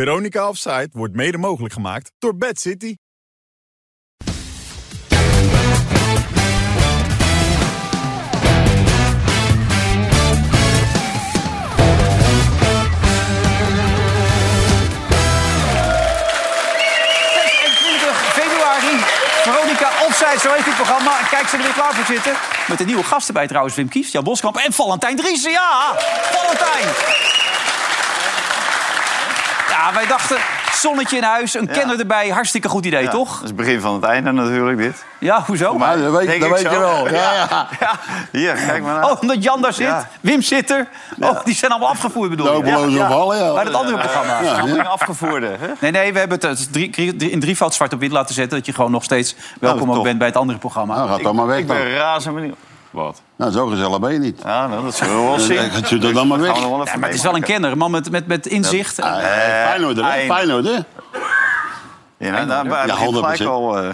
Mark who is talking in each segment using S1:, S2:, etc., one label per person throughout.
S1: Veronica Offside wordt mede mogelijk gemaakt door Bad City.
S2: Yes, 21 februari. Veronica Opzij, zo heet dit programma. Kijk, ze er weer klaar voor zitten. Met de nieuwe gasten bij trouwens. Wim Kieft, Jan Boskamp en Valentijn Driessen. Ja, Valentijn. Ja, wij dachten, zonnetje in huis, een kenner erbij. Hartstikke goed idee,
S3: Ja,
S2: toch?
S3: Dat is het begin van het einde natuurlijk, dit.
S2: Ja, hoezo?
S4: Maar dat weet,
S3: Denk
S4: dat
S3: ik
S4: weet
S3: zo.
S4: je wel. Ja, ja.
S3: Hier, kijk maar naar.
S2: Oh, omdat Jan daar zit.
S3: Ja.
S2: Wim zit er. Oh, die zijn allemaal afgevoerd, bedoel je?
S4: Nou, beloofd
S2: ja.
S4: opvallen, ja.
S2: Bij dat andere programma.
S3: Afgevoerde, afgevoerde. hè?
S2: Nee, nee, we hebben het eh, drie, drie, in drievoud zwart op wit laten zetten... dat je gewoon nog steeds welkom ook
S3: tof.
S2: bent bij het andere programma.
S4: Nou, gaat dan maar weg
S3: Ik
S4: dan.
S3: ben razend benieuwd. Wat?
S4: Nou, zo gezellig ben je niet.
S3: Ja, nou, dat zullen we wel zien.
S4: Dan gaat je er dan maar
S3: Gaan we
S4: weg.
S3: nog wel even
S2: Ja, maar het is wel een kenner, een man met, met, met inzicht.
S4: Ah, eh, Feyenoord, hè?
S3: eind.
S4: Feyenoord, hè? Ah,
S3: Ja, nou, daar ben
S4: Ja,
S3: ik gelijk
S4: 100%.
S3: al... eh,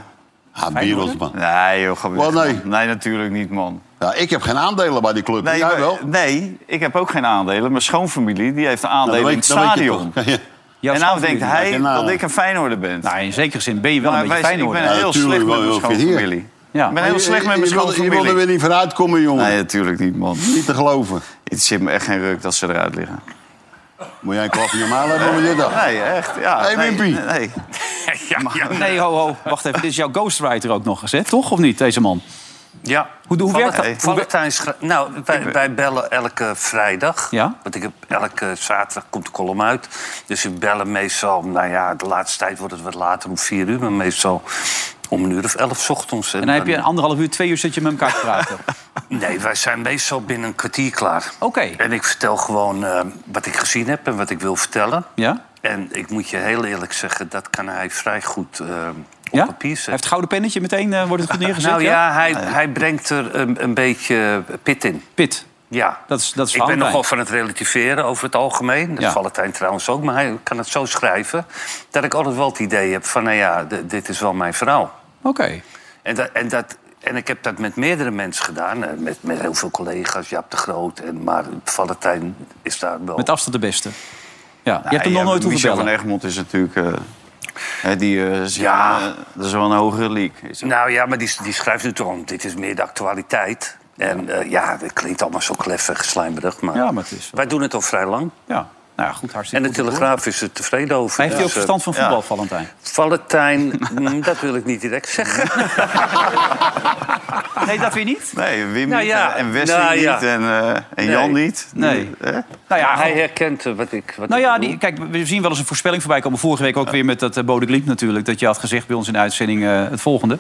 S4: Ah, Bierels, man.
S3: Nee, joh, ga
S4: Wat,
S3: weg,
S4: nee?
S3: man. Nee, natuurlijk niet, man.
S4: Ja, ik heb geen aandelen bij die club.
S3: Nee,
S4: Jij
S3: maar-
S4: wel? Nou,
S3: nee, ik heb ook geen aandelen. Mijn schoonfamilie die heeft een aandelen
S4: Nou,
S3: in
S4: weet-
S3: het
S4: weet je
S3: stadion.
S4: toch. Ja,
S2: Jouw
S3: en nou
S2: schoonfamilie.
S3: denkt hij
S4: nou.
S3: dat ik een Feyenoorder ben.
S2: Nou, in zekere zin ben je wel
S3: Maar
S2: een beetje
S3: wij-
S2: fijn
S3: ik ben
S4: Ja,
S3: heel
S4: tuurlijk,
S3: slecht met
S4: wel,
S3: mijn
S4: wel, vind je.
S3: schoonfamilie.
S2: Ja.
S3: Ik ben heel
S4: Je-
S3: slecht met
S4: je-
S3: mijn
S4: je wil- Je wil er
S3: schoonfamilie.
S4: weer niet vooruit komen, jongen.
S3: Nee, natuurlijk niet, man.
S4: Niet te geloven.
S3: Het zit me echt geen ruk dat ze eruit liggen.
S4: Moet jij een klap in je maal hebben, moet je dat?
S3: Nee, echt. Ja,
S4: Hey,
S3: nee,
S4: Wimpy.
S3: Nee.
S2: Nee, ho, ho. Wacht even. Dit is jouw ghostwriter ook nog eens, hè? Toch of niet, deze man?
S5: Ja.
S2: Hoe, hoe
S3: Van-
S2: werkt dat?
S3: hey.
S2: Hoe wer-
S5: Valentijn schrijft- Nou, wij, wij bellen elke vrijdag.
S2: Ja?
S5: Want ik heb elke zaterdag komt de column uit. Dus we bellen meestal, nou ja, de laatste tijd wordt het wat later om vier uur. Maar meestal om een uur of elf 's ochtends.
S2: En dan heb je
S3: Nou,
S2: een anderhalf uur, twee uur zit je met elkaar te praten.
S5: Nee, wij zijn meestal binnen een kwartier klaar.
S2: Oké.
S5: En ik vertel gewoon eh, wat ik gezien heb en wat ik wil vertellen.
S2: Ja?
S5: En ik moet je heel eerlijk zeggen, dat kan hij vrij goed eh, op
S2: Ja? Hij
S5: papier
S2: heeft
S5: zetten.
S2: het gouden pennetje meteen, eh, wordt het goed neergezet?
S5: nou ja, hij, hij brengt er een, een beetje pit in.
S2: Pit.
S5: Ja,
S2: Dat is- dat is
S5: ik ben
S2: Valentijn.
S5: nogal van het relativeren over het algemeen. Dat
S2: Ja.
S5: is Valentijn trouwens ook, maar hij kan het zo schrijven... dat ik altijd wel het idee heb van, nou ja, d- dit is wel mijn verhaal.
S2: Oké.
S3: Oh.
S5: En, dat, en, dat, en ik heb dat met meerdere mensen gedaan. eh, Met, met heel veel collega's, Jaap de Groot. En, maar Valentijn is daar wel...
S2: Met afstand de beste. Ja, je hebt hem
S3: Nou, Ja,
S2: nog nooit hoeven
S3: Michel van
S2: bellen.
S3: Egmond is natuurlijk... eh, hè, die, eh, is-
S5: Ja.
S3: eh, dat is wel een hogere league. Is het.
S5: Nou ja, maar die, die schrijft nu toch om. Dit is meer de actualiteit. En eh, ja, dat klinkt allemaal zo klef en geslijmerig. Maar,
S2: Ja, maar het is wel-
S5: wij doen het al vrij lang.
S2: Ja. Nou ja, goed, hartstikke
S5: En de
S2: goed.
S5: Telegraaf is er tevreden over.
S2: Hij heeft
S5: Dus,
S2: ook verstand van
S3: ja.
S2: voetbal, Valentijn.
S5: eh, Valentijn, mm, dat wil ik niet direct zeggen.
S3: Ah.
S2: Nee, dat weer niet?
S3: Nee, Wim
S5: Nou
S3: niet,
S5: ja.
S3: en- en Wesley
S5: Nou ja.
S3: niet en, eh, en Jan
S5: Nee.
S3: niet.
S2: Nee.
S3: Hè?
S2: Nou ja,
S5: Hij herkent eh, wat ik wat
S2: Nou
S5: ik
S2: ja,
S5: bedoel.
S2: die, kijk, we zien wel eens een voorspelling voorbij komen. Vorige week ook weer met dat eh, Bode Glimt natuurlijk. Dat je had gezegd bij ons in de uitzending eh, het volgende.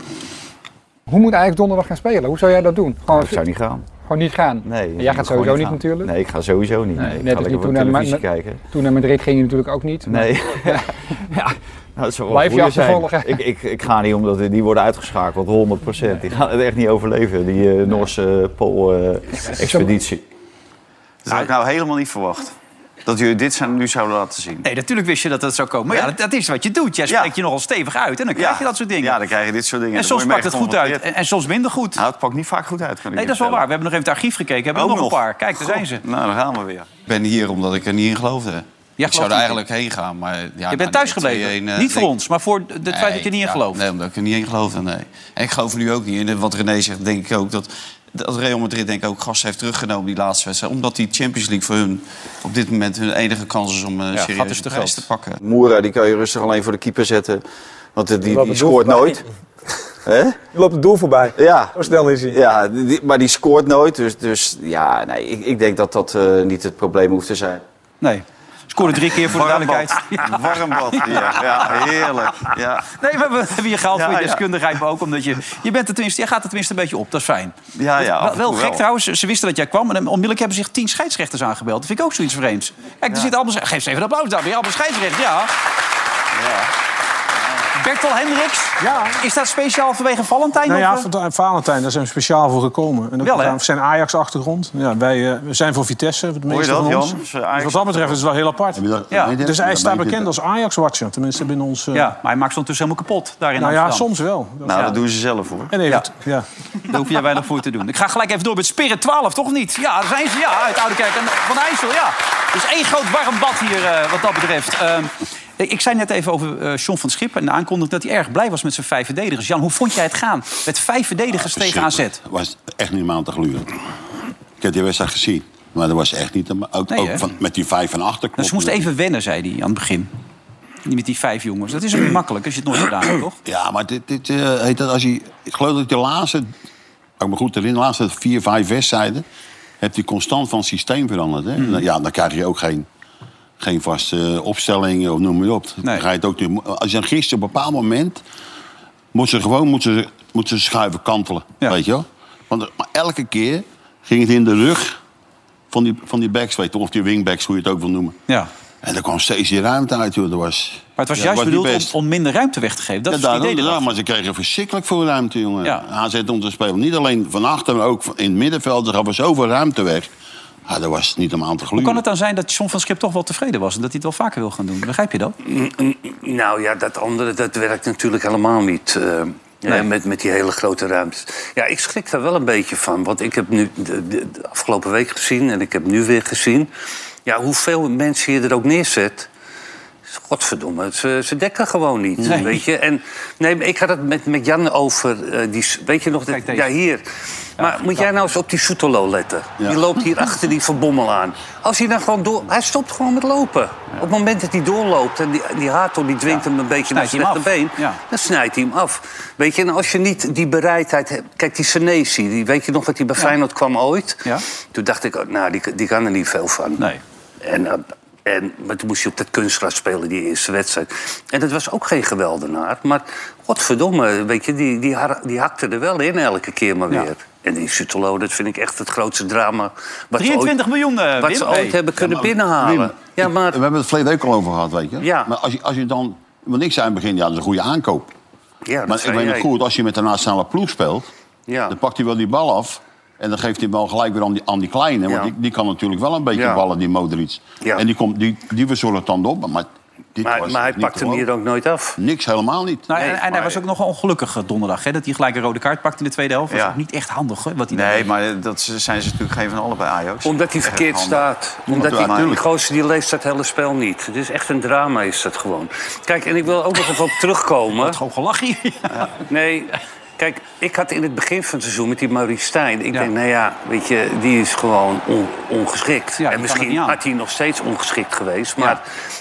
S6: Hoe moet eigenlijk donderdag gaan spelen? Hoe zou jij dat doen? Gewoon,
S7: Ik zou niet gaan.
S6: gewoon niet gaan?
S7: Nee.
S6: jij gaat sowieso
S7: gewoon
S6: niet,
S7: gaan.
S6: natuurlijk?
S7: Nee, ik ga sowieso niet. Nee, ik
S6: net
S7: ga
S6: als
S7: lekker
S6: niet
S7: op
S6: toen naar Ma-
S7: televisie
S6: Ma-
S7: kijken.
S6: Toen naar Madrid ging je natuurlijk ook niet. maar-
S7: Nee. ja. Nou, dat zou wel
S6: Blijf je
S7: goeie
S6: af te
S7: zijn.
S6: volgen.
S7: Ik, ik, ik ga niet omdat die worden uitgeschakeld, 100%. Die gaan het echt niet overleven, die eh, Noorse
S8: eh,
S7: Pool-expeditie.
S3: Dat had ik nou helemaal niet verwacht. Dat jullie dit zijn, nu zouden laten zien.
S2: Nee, natuurlijk wist je dat dat zou komen. Maar ja, dat, dat is wat je doet. Jij
S3: Ja.
S2: spreekt je nogal stevig uit en dan krijg je dat soort dingen.
S3: Ja, dan krijg je dit soort dingen.
S2: en
S3: Dan
S2: soms
S3: word je
S2: pakt
S3: mee
S2: het goed uit
S3: geconfronteerd.
S2: en, en soms minder goed.
S3: Nou, het pakt niet vaak goed uit, kan ik je
S2: nee, dat is wel waar.
S3: vertellen.
S2: We hebben nog even het archief gekeken. Hebben we nog,
S3: Ook
S2: een paar. Kijk, daar zijn ze.
S3: Nou, daar gaan we weer.
S8: Ik ben hier omdat ik er niet in geloofde. ik
S2: gelooft
S8: zou
S2: niet
S8: er eigenlijk heen gaan, maar... Ja, nou,
S2: Je bent thuis gebleven. niet voor ons, maar voor het feit dat je niet in gelooft.
S8: Nee, omdat ik er niet in geloofde, nee. En ik geloof er nu ook niet in. En wat René zegt, denk ik ook dat... Dat Real Madrid denk ik ook gas heeft teruggenomen die laatste wedstrijd. Omdat die Champions League voor hun op dit moment hun enige kans is om eh
S2: gat
S8: serieus
S2: is dus te
S8: een prijs te
S2: groot.
S8: pakken.
S3: Moera, die kan je rustig alleen voor de keeper zetten. Want die,
S9: bedoel- scoort nooit.
S3: Hè?
S9: Je loopt het doel voorbij.
S3: Ja.
S9: Zo snel is hij.
S3: Ja, die- maar die scoort nooit. Dus, dus ja, nee, ik, ik denk dat dat eh, niet het probleem hoeft te zijn.
S2: Nee. Scoorde drie keer voor de duidelijkheid.
S3: Warm bad hier. Ja, heerlijk. Ja,
S2: Nee, maar we hebben je gehaald voor
S3: Ja,
S2: je
S3: ja.
S2: deskundigheid. Maar ook omdat je... Je, bent er tenminste, je gaat er tenminste een beetje op. Dat is fijn.
S3: ja, ja af
S2: Wel,
S3: en
S2: wel
S3: toe
S2: gek trouwens, ze wisten dat jij kwam. En onmiddellijk hebben zich tien scheidsrechters aangebeld. Dat vind ik ook zoiets vreemds. Kijk, er zitten allemaal... Geef eens even een applaus daar. Weer allemaal scheidsrechters, ja. Bertel Hendricks, is dat speciaal vanwege Valentijn?
S10: Nou
S2: of,
S10: ja,
S2: eh?
S10: Valt- Valentijn, daar zijn we speciaal voor gekomen. En dat
S2: Wel, hè?
S10: komt aan zijn Ajax-achtergrond. Ja, wij eh, we zijn voor Vitesse, het
S3: Hoor je
S10: meeste
S3: dat,
S10: van
S3: Jan?
S10: ons.
S2: eh,
S3: Zijn
S10: Dus wat dat
S3: Ajax-achtergrond.
S10: betreft is het wel heel apart.
S4: Heb je dat-
S2: Ja,
S4: weet je?
S10: Dus hij
S4: Dat
S10: staat
S4: weet je
S10: bekend
S4: toch?
S10: als Ajax-watcher, tenminste binnen ons... eh,
S2: ja, maar hij maakt ze ondertussen helemaal kapot daar in
S10: Nou ja,
S2: Amsterdam.
S10: soms wel. Dat-
S3: Nou, dat doen ze zelf hoor.
S10: En even, ja.
S2: Daar hoef je weinig voor te doen. Ik ga gelijk even door met Spirit 12, toch niet? Ja, daar zijn ze. Ja, uit Oude Kerk en Van IJssel, ja. Dus één groot warm bad hier, eh, wat dat betreft. Ehm, Ik, ik zei net even over eh John van Schip en de aankondiging... dat hij erg blij was met zijn vijf verdedigers. Jan, hoe vond jij het gaan? Met vijf verdedigers tegen AZ.
S4: Het was echt niet meer aan te gluren. Ik heb die wedstrijd gezien. Maar dat was echt niet... te ma- Ook,
S2: Nee, hè?
S4: ook van, met die vijf en achter.
S2: Nou, ze
S4: klopt
S2: moesten
S4: het.
S2: even wennen, zei hij aan het begin. Met die vijf jongens. Dat is ook niet makkelijk als je het nooit gedaan hebt, toch?
S4: Ja, maar dit, dit eh, heet dat als je... Ik geloof dat de laatste... Als ik me goed herinner, de laatste vier, vijf wedstrijden... heb je constant van systeem veranderd.
S2: Hmm.
S4: Hè? Nou Ja, dan krijg je ook geen, geen vaste opstelling of noem maar op. Dan
S2: Nee.
S4: ga je het ook niet- als je dan gisteren op een bepaald moment... moeten ze gewoon moeten ze, moeten ze schuiven, kantelen.
S2: Ja.
S4: Weet je wel? Want er- maar elke keer ging het in de rug van die, van die backs, weet je, of die wingbacks, hoe je het ook wil noemen.
S2: Ja.
S4: En er kwam steeds die ruimte uit, joh. Dat was,
S2: Maar het was
S4: ja,
S2: juist
S4: niet
S2: bedoeld om,
S4: best.
S2: om minder ruimte weg te geven. Dat
S4: Ja,
S2: is het
S4: daarom,
S2: idee.
S4: daarom,
S2: erachter.
S4: maar ze kregen verschrikkelijk veel ruimte, jongen.
S2: Ja.
S4: AZ om te spelen. Niet alleen van achter, maar ook in het middenveld. Er gaf er zoveel ruimte weg. Ah, dat was niet om aan te
S2: Hoe
S4: gluren.
S2: kan het dan zijn dat John van Schip toch wel tevreden was... en dat hij het wel vaker wil gaan doen? Begrijp je dat?
S5: Nou ja, dat andere dat werkt natuurlijk helemaal niet. eh, eh, met, met die hele grote ruimtes. Ja, ik schrik daar wel een beetje van. Want ik heb nu de, de- de afgelopen week gezien en ik heb nu weer gezien. Ja, hoeveel mensen je er ook neerzet. Godverdomme, ze, ze dekken gewoon niet.
S2: Nee.
S5: Weet je? En, nee, maar ik had het met, met Jan over. eh, die, s- weet je nog? dat-
S2: Kijk deze.
S5: ja, hier. Maar moet jij nou eens op die Soetelo letten? Die loopt hier achter die Van Bommel aan. Als hij dan gewoon door... Hij stopt gewoon met lopen. Op het moment dat hij doorloopt en die, die Hato die dwingt hem een beetje naar
S2: Snijdt
S5: zijn
S2: hij hem
S5: rechterbeen...
S2: af. Ja.
S5: dan snijdt hij hem af. Weet je, en als je niet die bereidheid hebt... Kijk, die Senesi, die, weet je nog dat hij bij Feyenoord kwam ooit?
S2: Ja.
S5: Toen dacht ik, oh, nou, die, die kan er niet veel van.
S2: Nee.
S5: En, eh, en, maar toen moest hij op dat kunstgras spelen, die eerste wedstrijd. En dat was ook geen geweldenaar. Maar godverdomme, weet je, die, die, har- die hakte er wel in elke keer maar weer. En die Sutelo, dat vind ik echt het grootste drama... Wat ze ooit,
S2: 23 miljoen, eh,
S5: Wat
S2: Wim.
S5: ze ooit
S2: Hey.
S5: hebben kunnen
S4: maar-
S5: binnenhalen.
S4: Wim,
S5: ja, maar...
S4: We hebben het verleden ook al over gehad, weet je.
S5: Ja.
S4: Maar als je, als je dan... Want ik zei in het begin, ja, dat is een goede aankoop.
S5: Ja, dat
S4: Maar ik
S5: zei
S4: weet nog
S5: jij.
S4: goed, als je met de nationale ploeg speelt...
S5: Ja.
S4: dan pakt hij wel die bal af... en dan geeft hij hem wel gelijk weer aan die, aan die kleine. Want
S5: Ja.
S4: die, die kan natuurlijk wel een beetje
S5: Ja.
S4: ballen, die Modric.
S5: Ja.
S4: En die, komt, die, die verzorgt het dan op. Maar, dit
S5: Maar,
S4: was
S5: maar hij
S4: niet
S5: pakt
S4: te
S5: hem hier
S4: geloven.
S5: ook nooit af.
S4: Niks, helemaal niet.
S2: Nou, en,
S5: Nee,
S2: en hij
S5: maar-
S2: was ook nogal ongelukkig eh, donderdag. Hè, dat hij gelijk een rode kaart pakte in de tweede helft. Dat
S8: Ja.
S2: is ook niet echt handig, hè, wat hij
S8: Nee, maar dat ze- zijn ze natuurlijk geen van allebei Ajax.
S5: Omdat hij verkeerd
S8: Echt handig.
S5: staat. Omdat die, die
S8: natuurlijk.
S5: gozer die leest dat hele spel niet. Het is echt een drama, is dat gewoon. Kijk, en ik wil ook nog even op terugkomen.
S2: Gewoon gelachen hier.
S5: Nee, kijk, ik had in het begin van het seizoen met die Maurice Stijn... ik
S2: Ja.
S5: denk, nou ja, weet je, die is gewoon on- ongeschikt.
S2: die kan
S5: en
S2: het niet
S5: misschien
S2: aan.
S5: had hij nog steeds ongeschikt geweest. Maar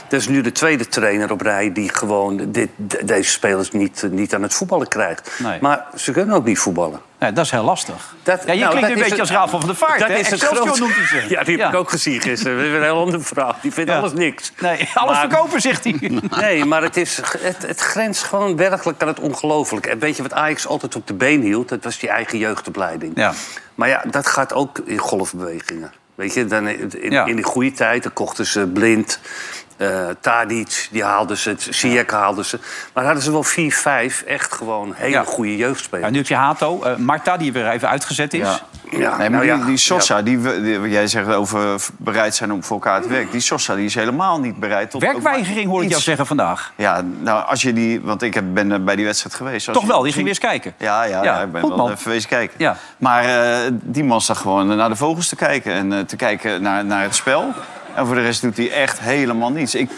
S5: dat is nu de tweede trainer op rij... die gewoon dit, de- deze spelers niet, eh, niet aan het voetballen krijgt.
S2: Nee.
S5: Maar ze kunnen ook niet voetballen.
S2: Nee, dat is heel lastig.
S5: Dat,
S2: ja, je
S5: nou,
S2: klinkt
S5: dat
S2: een
S5: is
S2: beetje
S5: het-
S2: als Rafael van der Vaart.
S5: Dat
S2: hè?
S5: is het
S2: Excelsior
S5: groot-
S2: noemt hij ze.
S5: Ja, die heb ik ook gezien gisteren. Dat is weer een heel andere verhaal. Die vindt
S2: Ja.
S5: alles niks.
S2: Nee, alles
S5: Maar-
S2: verkopen, zegt hij.
S5: Nee, maar het, is, het, het grenst gewoon werkelijk aan het ongelooflijk. En weet je wat Ajax altijd op de been hield? Dat was die eigen jeugdopleiding.
S2: Ja.
S5: Maar ja, dat gaat ook in golfbewegingen. Weet je, dan in, in,
S2: Ja.
S5: in die goede tijd dan kochten ze blind. eh Tadic, die haalden ze. Ziyech haalden ze. Maar hadden ze wel vier, vijf echt gewoon hele
S2: Ja.
S5: goede
S2: Ja,
S5: jeugdspelers.
S2: nu heb je Hato, eh Marta, die weer even uitgezet is.
S8: Ja.
S5: Ja,
S8: nee, maar
S5: nou ja,
S8: die, die Sosa,
S5: ja.
S8: die, we- die- wat jij zegt over v- bereid zijn om voor elkaar te werken. Die Sosa die is helemaal niet bereid tot...
S2: Mm. Werkweigering hoor ik jou
S8: Iets.
S2: zeggen vandaag.
S8: Ja, nou, als je die... Want ik heb, ben eh, bij die wedstrijd geweest. Als
S2: Toch
S8: je-
S2: wel, die ging weer eens kijken.
S8: Ja, ja, ja, ik ben
S2: goed,
S8: wel
S2: man.
S8: even wezen kijken.
S2: Ja.
S8: Maar eh, die man staat gewoon naar de vogels te kijken en eh, te kijken naar, naar het spel. En voor de rest doet hij echt helemaal niets. Ik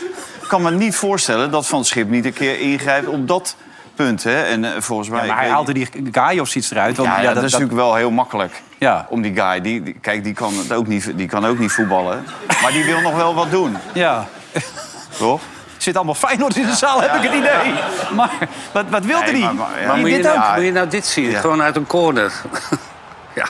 S8: kan me niet voorstellen dat Van Schip niet een keer ingrijpt op dat punt. Hè? En eh, volgens mij...
S2: Ja, maar
S8: ik
S2: hij
S8: weet-
S2: haalde die Gaio of iets eruit. Want,
S8: ja,
S2: ja,
S8: ja, dat,
S2: dat,
S8: is
S2: dat-
S8: natuurlijk wel heel makkelijk.
S2: Ja.
S8: Om die guy, die, die- kijk, die kan, het ook niet, die kan ook niet voetballen. Maar die wil nog wel wat doen,
S2: ja.
S8: toch?
S2: Zit allemaal Feyenoord in de zaal, heb ik het idee. Maar wat, wat
S8: Nee,
S2: wilde hij?
S8: maar- maar- ja.
S5: Maar
S2: Die
S5: moet je,
S2: dit
S5: nou,
S8: ook?
S5: moet je nou dit zien?
S8: Ja.
S5: Gewoon uit een corner. ja.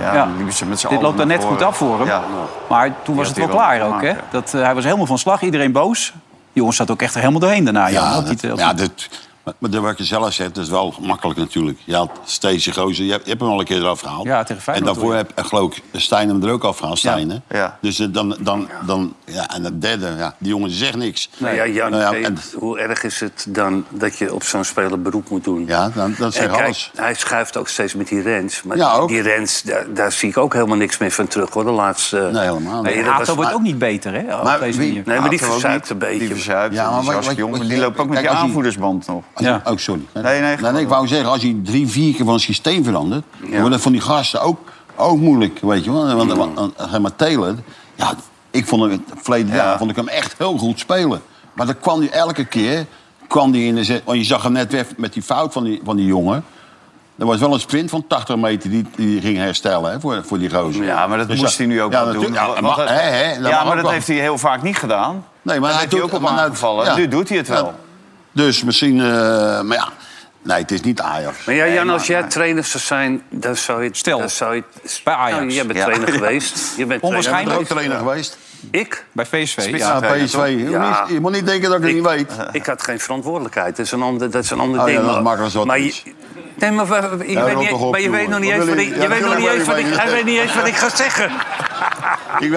S8: Ja,
S2: Ja.
S8: dan liepen ze met z'n
S2: Dit
S8: allen
S2: loopt er
S8: naar
S2: net goed
S8: voren.
S2: af voor hem.
S8: Ja. nou,
S2: Maar toen was het
S8: had
S2: wel
S8: hij wel
S2: klaar ook,
S8: gemaakt,
S2: hè?
S8: ja.
S2: Dat, eh, hij was helemaal van slag, iedereen boos. Die jongen zat ook echt er helemaal doorheen daarna. Jan,
S4: Ah, Ja,
S2: dat
S4: dat,
S2: hij het-
S4: ja dat, maar, maar dat wat je zelf zegt, dat is wel makkelijk natuurlijk. Je had steeds die gozer, je hebt, je hebt hem al een keer eraf gehaald.
S2: Ja, tegen Feyenoord,
S4: En daarvoor
S2: hoor.
S4: heb, eh, geloof ik, Stijn hem er ook af gehaald, Stijn.
S2: Ja,
S4: hè?
S8: ja.
S4: Dus eh, dan, dan, dan, ja, en dat derde, ja, die jongen zegt niks.
S5: Nou ja, Jan,
S4: Nou ja,
S5: weet-
S4: en-
S5: hoe erg is het dan dat je op zo'n speler beroep moet doen?
S4: Ja, nou, dan, dat
S5: En
S4: zegt
S5: kijk,
S4: alles.
S5: hij schuift ook steeds met die Rens. Maar
S4: Ja, ook.
S5: die Rens, daar, daar zie ik ook helemaal niks meer van terug, hoor. De laatste...
S4: Nee, helemaal niet.
S5: Nee, dat
S2: Hato
S5: was-
S2: wordt ook niet beter, hè? Op
S4: Maar
S2: deze
S4: wie-
S2: manier.
S5: Nee, maar die
S8: Hato ook
S5: verzuipt
S8: niet.
S5: een beetje.
S8: Die verzuipt,
S4: Ja, maar
S8: die is
S4: wat-
S8: hartstikke
S4: wat-
S8: jong.
S4: wat-
S8: maar die loopt ook met
S4: kijk,
S8: je
S4: als hij-
S8: aanvoerdersband nog.
S4: Als je-
S2: Ja.
S4: Oh, sorry.
S8: nee, gewoon.
S4: ik wou zeggen, als je drie, vier keer van systeem verandert... dan wordt het van die gasten ook, ook moeilijk, weet je wel. Want, want, want- want- zeg maar Taylor, ja, ik vond hem, het verleden jaar vond ik hem echt heel goed spelen. Maar dan kwam hij elke keer kwam die in de zet. Want je zag hem net weg met die fout van die, van die jongen. Er was wel een sprint van 80 meter die, die ging herstellen hè, voor, voor die gozer.
S8: Ja, maar dat
S4: Dus
S8: moest hij nu ook
S4: ja,
S8: wel doen.
S4: natuurlijk. Ja,
S8: Want-
S4: maar,
S8: want-
S4: hè, hè, dat
S8: ja,
S4: mag
S8: maar
S4: ook
S8: dat
S4: wel.
S8: heeft hij heel vaak niet gedaan.
S4: Nee, maar
S8: Daar
S4: hij
S8: heeft hij
S4: doet-
S8: ook op
S4: maar nou-
S8: aangevallen.
S4: ja.
S8: Nu doet hij het wel.
S4: Ja. Dus misschien... eh, maar ja, nee, het is niet Ajax.
S5: Maar ja, Jan, als jij trainer zou zijn, dan zou je...
S2: Stel,
S5: dan zou je,
S2: bij Ajax.
S5: Nou, jij bent
S8: Ja.
S5: trainer geweest. Je bent
S4: Jij bent
S2: Onwaarschijnlijk.
S4: ook trainer geweest.
S5: trainer. Ik?
S2: Bij PSV, ja.
S4: Ja,
S8: trainer,
S4: PSV. Je moet
S5: Ja.
S4: niet- Je moet niet denken dat ik het niet weet.
S5: Ik had geen verantwoordelijkheid. Dat is een ander, dat is een ander
S4: Oh ja,
S5: ding.
S4: dat
S5: maar-
S4: mag wel zo
S5: maar je,
S4: iets.
S5: nee, maar, wa- je weet,
S4: rot
S5: niet,
S4: toch op,
S5: maar je weet nog
S4: jongen.
S5: niet eens
S4: Wat wil
S5: wat
S4: je?
S5: ik,
S4: Ja,
S5: je weet
S4: dat
S5: nog niet
S4: wil ik
S5: eens wat ik,
S4: weten.
S5: hij weet niet eens wat ik ga zeggen.
S4: Ik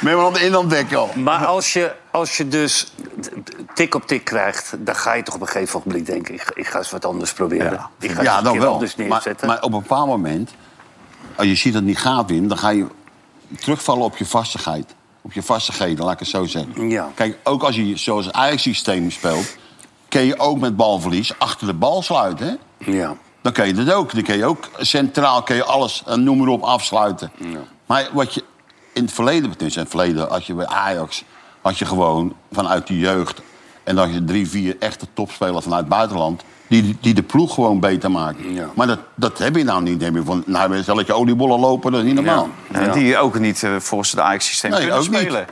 S4: ben wel aan het inlanddek, joh.
S5: Maar als je, als je dus t- t- tik op tik krijgt, dan ga je toch op een gegeven moment denken: ik, ga- ik ga eens wat anders proberen. Ik ga eens
S4: Ja,
S5: een
S4: dan
S5: keer
S4: wel.
S5: anders
S4: Maar,
S5: neerzetten.
S4: maar op een bepaald moment, als je ziet dat het niet gaat, Wim... dan ga je terugvallen op je vastigheid. Op je vastigheden, laat ik het zo zeggen.
S5: Ja.
S4: Kijk, ook als je zoals het Ajax-systeem speelt... kun je ook met balverlies achter de bal sluiten. hè?
S5: ja.
S4: Dan kun je dat ook. Dan kun je ook centraal kun je alles, eh, noem maar op, afsluiten. Maar wat je in het verleden, dus in het verleden, had je bij Ajax... had je gewoon vanuit de jeugd... en dan had je drie, vier echte topspelers vanuit het buitenland... Die, die de ploeg gewoon beter maken.
S5: Ja.
S4: Maar dat, dat heb je nou niet. Dan Heb je van, nou, zal ik je oliebollen lopen? Dat is niet normaal.
S8: En Die ook niet eh, volgens het Ajax-systeem
S4: Nee,
S8: kunnen
S4: ook niet.
S8: spelen.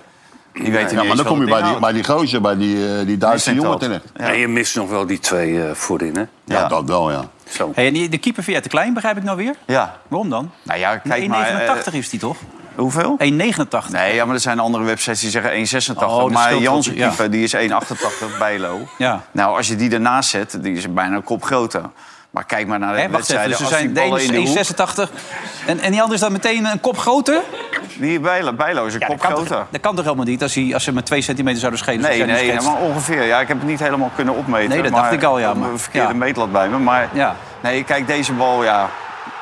S8: Die weten
S4: Ja,
S8: niet
S4: maar
S8: eens
S4: dan kom
S8: wat
S4: je bij
S8: het
S4: die, bij die gozer, bij die, eh, die Duitse
S8: Wisselt
S4: jongen
S8: dat.
S4: terecht.
S5: En je mist nog wel die twee eh, voorin, hè?
S4: Ja, dat wel, ja.
S5: Zo.
S2: Hey, en die- de keeper Via te klein, begrijp ik nou weer?
S8: Ja.
S2: Waarom dan?
S8: Nou ja, kijk maar... eh,
S2: 1,89 is die toch? 1,89.
S8: hoeveel? Nee, ja, maar er zijn andere websites die zeggen 1,86.
S2: Oh, dat
S8: maar
S2: scheelt wel,
S8: Jansen
S2: ja.
S8: keeper, die is 1,88 Bijlo.
S2: Ja.
S8: Nou, als je die ernaast zet, die is bijna een kop groter. Maar kijk maar naar de
S2: Hé, wacht even,
S8: wedstrijden.
S2: dus er
S8: als
S2: zijn de
S8: die
S2: ene
S8: ballen
S2: is
S8: in de hoek...
S2: 1,86 en, en die andere is dan meteen een kop groter?
S8: Die Bijlo, Bijlo is een
S2: dat,
S8: kop
S2: kan toch,
S8: groter.
S2: dat kan toch helemaal niet als, hij, als ze met 2 centimeter zouden schelen?
S8: Nee,
S2: zoals jij nu
S8: nee,
S2: schetst?
S8: maar ongeveer. Ja, ik heb het niet helemaal kunnen opmeten.
S2: Nee, dat
S8: maar
S2: dacht ik al, ja,
S8: ik heb
S2: maar-
S8: Een verkeerde
S2: ja.
S8: meetlat bij me. Maar
S2: Ja.
S8: nee, kijk, deze bal, ja,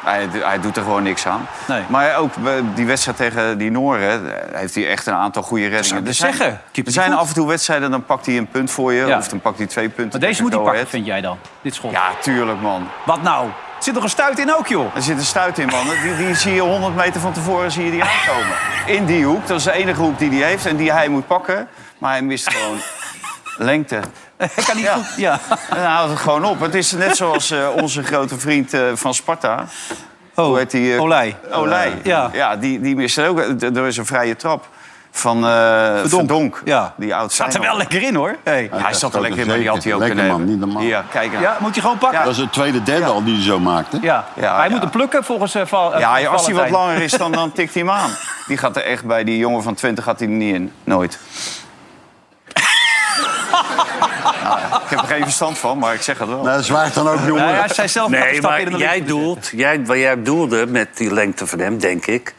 S8: hij, hij doet er gewoon niks aan.
S2: Nee.
S8: Maar ook bij die wedstrijd tegen die Nooren eh, heeft hij echt een aantal goede reddingen.
S2: ik
S8: Er
S2: dus
S8: zijn,
S2: zeggen. Keeper
S8: er
S2: die
S8: zijn
S2: goed.
S8: af en toe wedstrijden, dan pakt hij een punt voor je.
S2: Ja.
S8: Of dan pakt hij twee punten.
S2: Maar deze moet
S8: tegen
S2: hij
S8: Go
S2: pakken,
S8: Ahead.
S2: vind jij dan? Dit schot.
S8: Ja, tuurlijk, man.
S2: Wat nou? Er zit nog een stuit in ook, joh.
S8: Er zit een stuit in, man. Die, die zie je 100 meter van tevoren zie je die aankomen. In die hoek. Dat is de enige hoek die hij heeft en die hij moet pakken. Maar hij mist gewoon lengte.
S2: Hij kan niet
S8: Ja.
S2: goed... Ja.
S8: En hij houdt het gewoon op. Het is net zoals eh, onze grote vriend eh, van Sparta.
S2: Oh,
S8: Hoe heet die? eh,
S2: Olij.
S8: Olij.
S2: Ja.
S8: Ja, die, die miste ook. eh, d- Er is een vrije trap van eh Verdonk.
S2: Ja.
S8: Die oud
S2: Staat er wel lekker in, hoor. Hey.
S8: Ja, hij zat er lekker in, maar die had hij ook
S4: Lekker,
S8: kunnen
S4: man,
S8: hebben.
S4: niet normaal.
S8: Ja, kijk nou.
S2: Ja, moet je gewoon pakken.
S4: Dat
S2: Ja.
S4: is het tweede, derde al die hij zo maakte.
S8: Ja,
S2: hij
S8: ja.
S2: moet hem plukken volgens eh, Val- eh,
S8: Ja, ja, als hij wat
S2: Valentijn.
S8: langer is, dan, dan tikt hij hem aan. Die gaat er echt bij die jongen van 20 gaat hij er niet in. Nooit. nou, ja, ik heb er geen verstand van, maar ik zeg het wel.
S4: Nou, dat zwaait dan ook, jongen.
S2: Ja, hij zei zelf
S5: Nee,
S2: stap in
S5: maar
S2: de
S5: jij doelt, jij, wat jij doelde met die lengte van hem, denk ik.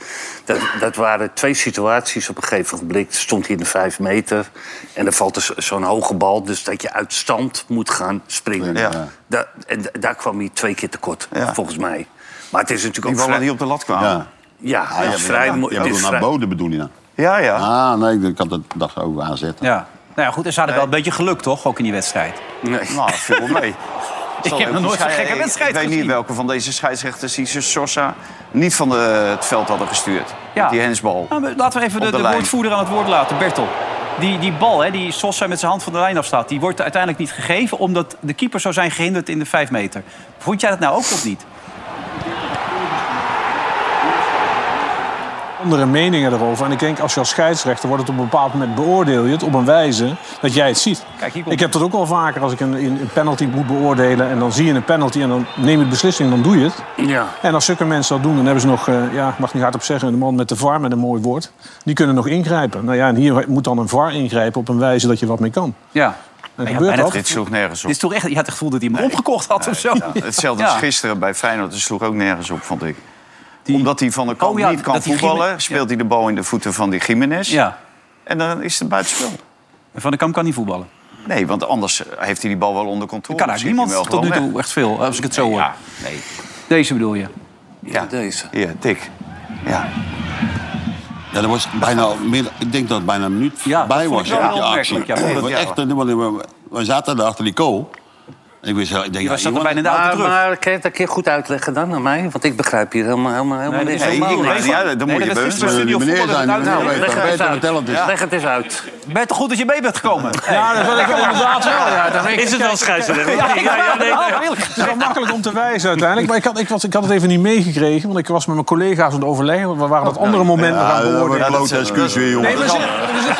S5: Dat, dat waren twee situaties op een gegeven moment. Stond hij in de vijf meter en dan valt er zo- zo'n hoge bal. Dus dat je uit stand moet gaan springen.
S8: Ja.
S5: Da- en da- daar kwam hij twee keer tekort,
S8: Ja.
S5: volgens mij. Maar het is natuurlijk
S8: die
S5: ook
S8: ballen
S5: vrij...
S8: die op de lat kwamen.
S4: Ja.
S5: Ja,
S4: Ah,
S5: het
S4: ja,
S5: is vrij...
S4: ja,
S5: mo-
S4: ja,
S5: het is
S4: bedoel, naar
S5: vrij-
S4: Boden bedoel je nou?
S8: Ja, ja.
S4: Ah, nee, ik had dat dacht over aanzetten.
S2: Ja. Nou ja, goed, en ze hadden wel een beetje geluk, toch? Ook in die wedstrijd.
S8: Nou, veel mee.
S2: Ik heb nog nooit zo'n gekke wedstrijd
S8: Ik weet
S2: gezien.
S8: niet welke van deze scheidsrechters die ze Sosa niet van de, het veld hadden gestuurd. Met die hensbal.
S2: Nou, maar laten we even
S8: Op
S2: de,
S8: de
S2: de
S8: lijn.
S2: woordvoerder aan het woord laten, Bertel. Die, die bal, hè, die Sosa met zijn hand van de lijn afstaat... die wordt uiteindelijk niet gegeven... omdat de keeper zou zijn gehinderd in de vijf meter. Vond jij dat nou ook of niet?
S10: Andere meningen erover. En ik denk, als je als scheidsrechter wordt het op een bepaald moment beoordeel je het op een wijze dat jij het ziet.
S2: Kijk, hier komt-
S10: ik heb dat ook wel vaker als ik een, een een penalty moet beoordelen. En dan zie je een penalty en dan neem je de beslissing en dan doe je het.
S5: Ja.
S10: En als zulke mensen dat doen, dan hebben ze nog, eh, ja, ik mag niet hardop zeggen, de man met de VAR met een mooi woord. Die kunnen nog ingrijpen. Nou ja, en hier moet dan een VAR ingrijpen op een wijze dat je wat mee kan.
S2: Ja.
S10: En
S2: Ja,
S10: gebeurt
S2: en het-
S10: dat?
S8: Dit sloeg nergens
S2: Dit
S8: op.
S2: is toch echt, je had het gevoel dat hij hem opgekocht had of zo?
S8: Hetzelfde
S2: Ja.
S8: als gisteren bij Feyenoord. Het sloeg ook nergens op, vond ik.
S2: Die-
S8: Omdat hij van de kant
S2: Oh ja,
S8: niet kan
S2: dat die
S8: voetballen,
S2: Jimen-
S8: speelt hij de bal in de voeten van die Jiménez.
S2: Ja.
S8: En dan is het buitenspel.
S2: Van de Kamp kan niet voetballen.
S8: Nee, want anders heeft hij die bal wel onder controle.
S2: kan
S8: Dan
S2: eigenlijk
S8: schiet hij hem
S2: niemand
S8: wel
S2: tot nu
S8: gewoon
S2: toe echt veel, als ik het zo hoor.
S8: weg. Ja, nee.
S2: Deze bedoel je?
S5: Ja, deze.
S8: Ja, dik. Ja.
S4: Ja, dat was bijna, meer- ik denk dat het bijna een minuut
S2: Ja, dat
S4: bij
S2: vond
S4: was,
S2: ik wel
S4: ja,
S2: heel
S4: die actie.
S2: opmerkelijk, ja.
S4: Dat was
S8: Ja.
S4: echt, want we, we zaten daar achter die kool. Ik wist, heel- ik denk,
S2: Je was
S4: ja,
S2: zat er bijna in de auto
S5: Maar,
S2: terug.
S5: maar kan je het een keer goed uitleggen dan aan mij? Want ik begrijp hier helemaal, helemaal, helemaal
S2: dat
S5: niks
S2: is
S5: van. Nou,
S8: Nee,
S2: helemaal
S8: ik-
S2: niet.
S8: ja, dan moet je
S2: dat
S8: bewust
S2: is gisteren
S4: zijn.
S2: studio
S4: Meneer
S2: voetballen
S4: zijn,
S2: dat het
S4: meneer
S2: uithaalt.
S4: weet
S5: Leg
S4: dat
S5: het
S4: beter
S5: eens
S4: vertellen.
S5: uit.
S4: Ja.
S5: Leg het eens uit.
S2: Bert, goed dat je mee bent gekomen.
S10: Ja, dat wil ik wel inderdaad wel.
S2: Nou,
S10: Ja, Dan denk ik,
S5: Is het wel
S10: kijk,
S5: scheidsrechter?
S10: Ja, ik
S5: Ja, ja, nee,
S10: wou-
S5: nee.
S10: nou, eerlijk gezegd, Het is wel makkelijk om te wijzen uiteindelijk. Maar ik had, ik, was, ik had het even niet meegekregen, want ik was met mijn collega's aan het overleggen. We
S2: Oh,
S10: waren wat andere
S2: nou,
S10: momenten gaan
S4: dat wordt
S10: beoordelen.
S4: een blote excuus weer, jongen.
S10: Nee, maar zit- er zit-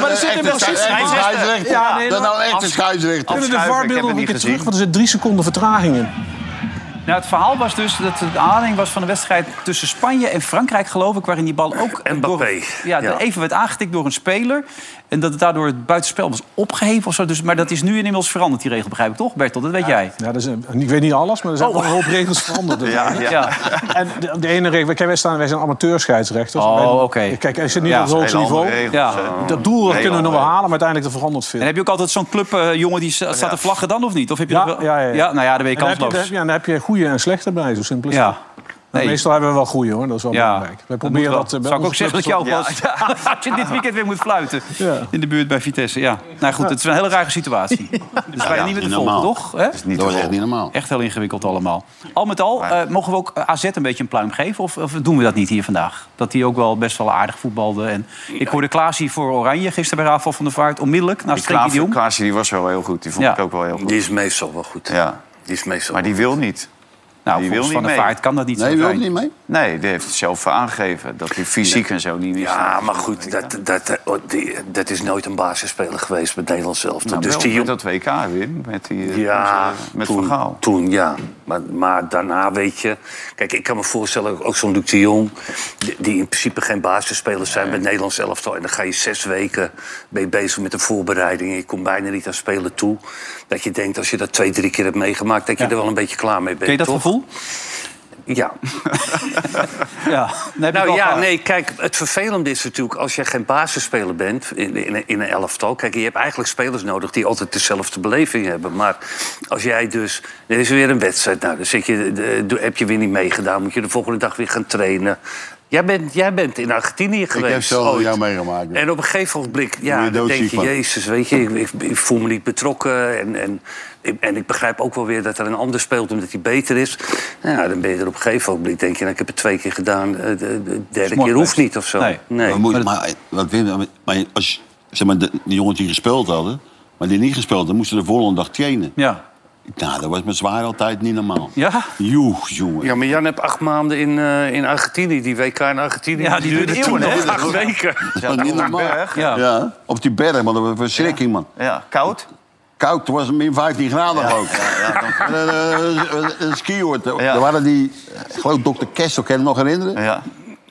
S10: maar er zit in principe...
S4: scheidsrechter.
S10: Ja, nee,
S4: Dat
S10: dan-
S4: nou echt een scheidsrechter.
S10: Kunnen de
S8: Afschuiven, ik heb
S10: VAR-beelden nog
S8: het
S10: een
S8: niet
S10: keer terug?
S8: gezien.
S10: Want er zit drie seconden vertraging in.
S2: Nou, het verhaal was dus dat het de aanleiding was van de wedstrijd tussen Spanje en Frankrijk, geloof ik, waarin die bal ook
S5: Mbappé,
S2: door, ja,
S5: ja.
S2: even werd aangetikt door een speler. En dat het daardoor het buitenspel was opgeheven of zo. Dus, maar dat is nu inmiddels veranderd, die regel, begrijp ik toch, Bertel? Dat weet jij.
S10: Ja, dus, ik weet niet alles, maar er zijn
S2: Oh.
S10: wel een hoop regels veranderd.
S2: Ja.
S10: En de, de ene regel, kijk, wij, staan, wij zijn amateurscheidsrechters.
S2: Oh,
S10: Wij-
S2: oké.
S10: Kijk, hij zit niet
S2: Ja,
S10: op het hoogste
S8: Hele andere
S10: niveau.
S8: regels.
S2: Ja.
S8: eh.
S10: Dat doel dat
S8: Nee,
S10: kunnen we nog wel
S8: joh.
S10: halen, maar uiteindelijk er veranderd veel.
S2: En heb je ook altijd zo'n clubjongen jongen die sta- staat te vlaggen dan of niet? Of heb je
S10: Ja,
S2: nog wel-
S10: ja, ja, ja.
S2: Nou ja, dan ben
S10: En dan heb je-
S2: je
S10: dan heb
S2: kansloos.
S10: je- ja, dan heb je goede en slechte bij, zo simpel is het.
S2: Ja.
S10: Maar
S2: Nee.
S10: Meestal hebben we wel goede hoor, dat is wel
S2: Ja.
S10: belangrijk. We proberen dat,
S2: Dat
S10: eh, bij
S2: zou ik ook
S10: onze
S2: zeggen dat
S10: clubs
S2: jou ook was. Als je dit weekend weer moet fluiten.
S10: Ja.
S2: In de buurt bij Vitesse, ja. Nou goed, het is een hele rare situatie. Dus wij niet met het
S4: niet
S2: volgen,
S4: normaal.
S2: toch? Hè?
S4: Dat was echt niet normaal.
S2: Echt heel ingewikkeld allemaal. Al met al, eh, mogen we ook eh, AZ een beetje een pluim geven? Of, of doen we dat niet hier vandaag? Dat die ook wel best wel aardig voetbalde. En ik hoorde Klaas hier voor Oranje gisteren bij Rafael van der Vaart... onmiddellijk naast
S8: Die
S2: Frenkie de
S8: Klaver-
S2: Jong.
S8: Klaasje die was wel heel goed. Die vond
S2: Ja.
S8: ik ook wel heel goed.
S5: Die is meestal wel goed.
S8: Ja.
S5: Die is meestal
S8: Maar die wil niet.
S2: Nou,
S8: die wil
S2: volgens
S8: niet
S2: Van der
S8: mee.
S2: Vaart kan dat niet
S4: Nee,
S2: zo
S4: wil je
S2: zijn.
S4: niet mee?
S8: Nee, die heeft het zelf aangegeven. Dat hij fysiek en zo niet meer
S5: Ja, maar goed, dat, dat, eh, oh, die- dat is nooit een basisspeler geweest met Nederland zelf. dus die
S8: met
S5: jong...
S8: Nou, dat WK weer. Met, die, eh,
S5: Ja,
S8: met
S5: toen,
S8: Van Gaal.
S5: Toen, ja. Maar, maar daarna weet je... Kijk, ik kan me voorstellen, ook zo'n Luc de Jong... die, die in principe geen basisspelers zijn met Nederlands elftal. En dan ga je zes weken ben je bezig met de voorbereiding... en je komt bijna niet aan spelen toe. Dat je denkt, als je dat twee, drie keer hebt meegemaakt... dat je er wel een beetje klaar mee bent,
S2: Ken je dat
S5: toch?
S2: gevoel?
S5: Ja.
S2: Ja. Dan heb ik
S5: Nou
S2: wel
S5: ja,
S2: gehad.
S5: nee, kijk, het vervelende is natuurlijk... als je geen basisspeler bent in, in, in een elftal... kijk, je hebt eigenlijk spelers nodig die altijd dezelfde beleving hebben. Maar als jij dus... Er is weer een wedstrijd, nou, dan zit je, de- de- heb je weer niet meegedaan... moet je de volgende dag weer gaan trainen. Jij bent, jij bent in Argentinië geweest.
S4: heb zelden
S5: ooit.
S4: jou meegemaakt, ja.
S5: En op een gegeven moment,
S4: Word
S5: ja,
S4: je
S5: dan denk
S4: doodziek
S5: je...
S4: van.
S5: Jezus, weet je, ik, ik- ik voel me niet betrokken. En, en, en ik begrijp ook wel weer dat er een ander speelt omdat hij beter is. Nou, ja, dan ben je er op een gegeven moment. Denk je, nou, ik heb het twee keer gedaan. eh, De, de derde
S2: Smart
S5: keer hoeft
S2: best.
S5: niet of zo.
S2: Nee.
S5: Nee.
S4: Maar, moet, maar, wat Wim- maar als zeg maar, de, die jongens die gespeeld hadden, maar die niet gespeeld hadden, moesten de volgende dag trainen.
S2: Ja.
S4: Nou, dat was met zwaar altijd niet normaal.
S2: Ja?
S4: Joeg, jongen.
S5: Ja, maar Jan heeft acht maanden in, eh, in Argentinië. Die WK in Argentinië.
S2: Ja, die duurde
S5: toen
S2: eeuwen,
S5: nog
S2: hè?
S5: acht weken.
S4: Dat was niet normaal.
S2: Ja.
S4: Ja. op die berg, man, dat was een verschrikking, man.
S8: Ja, koud.
S4: Koud, toen was het min 15 graden ook. En, eh, eh, Een skioord. Er waren die, eh, ik geloof dokter Kessel, kan je hem nog herinneren?
S8: Ja.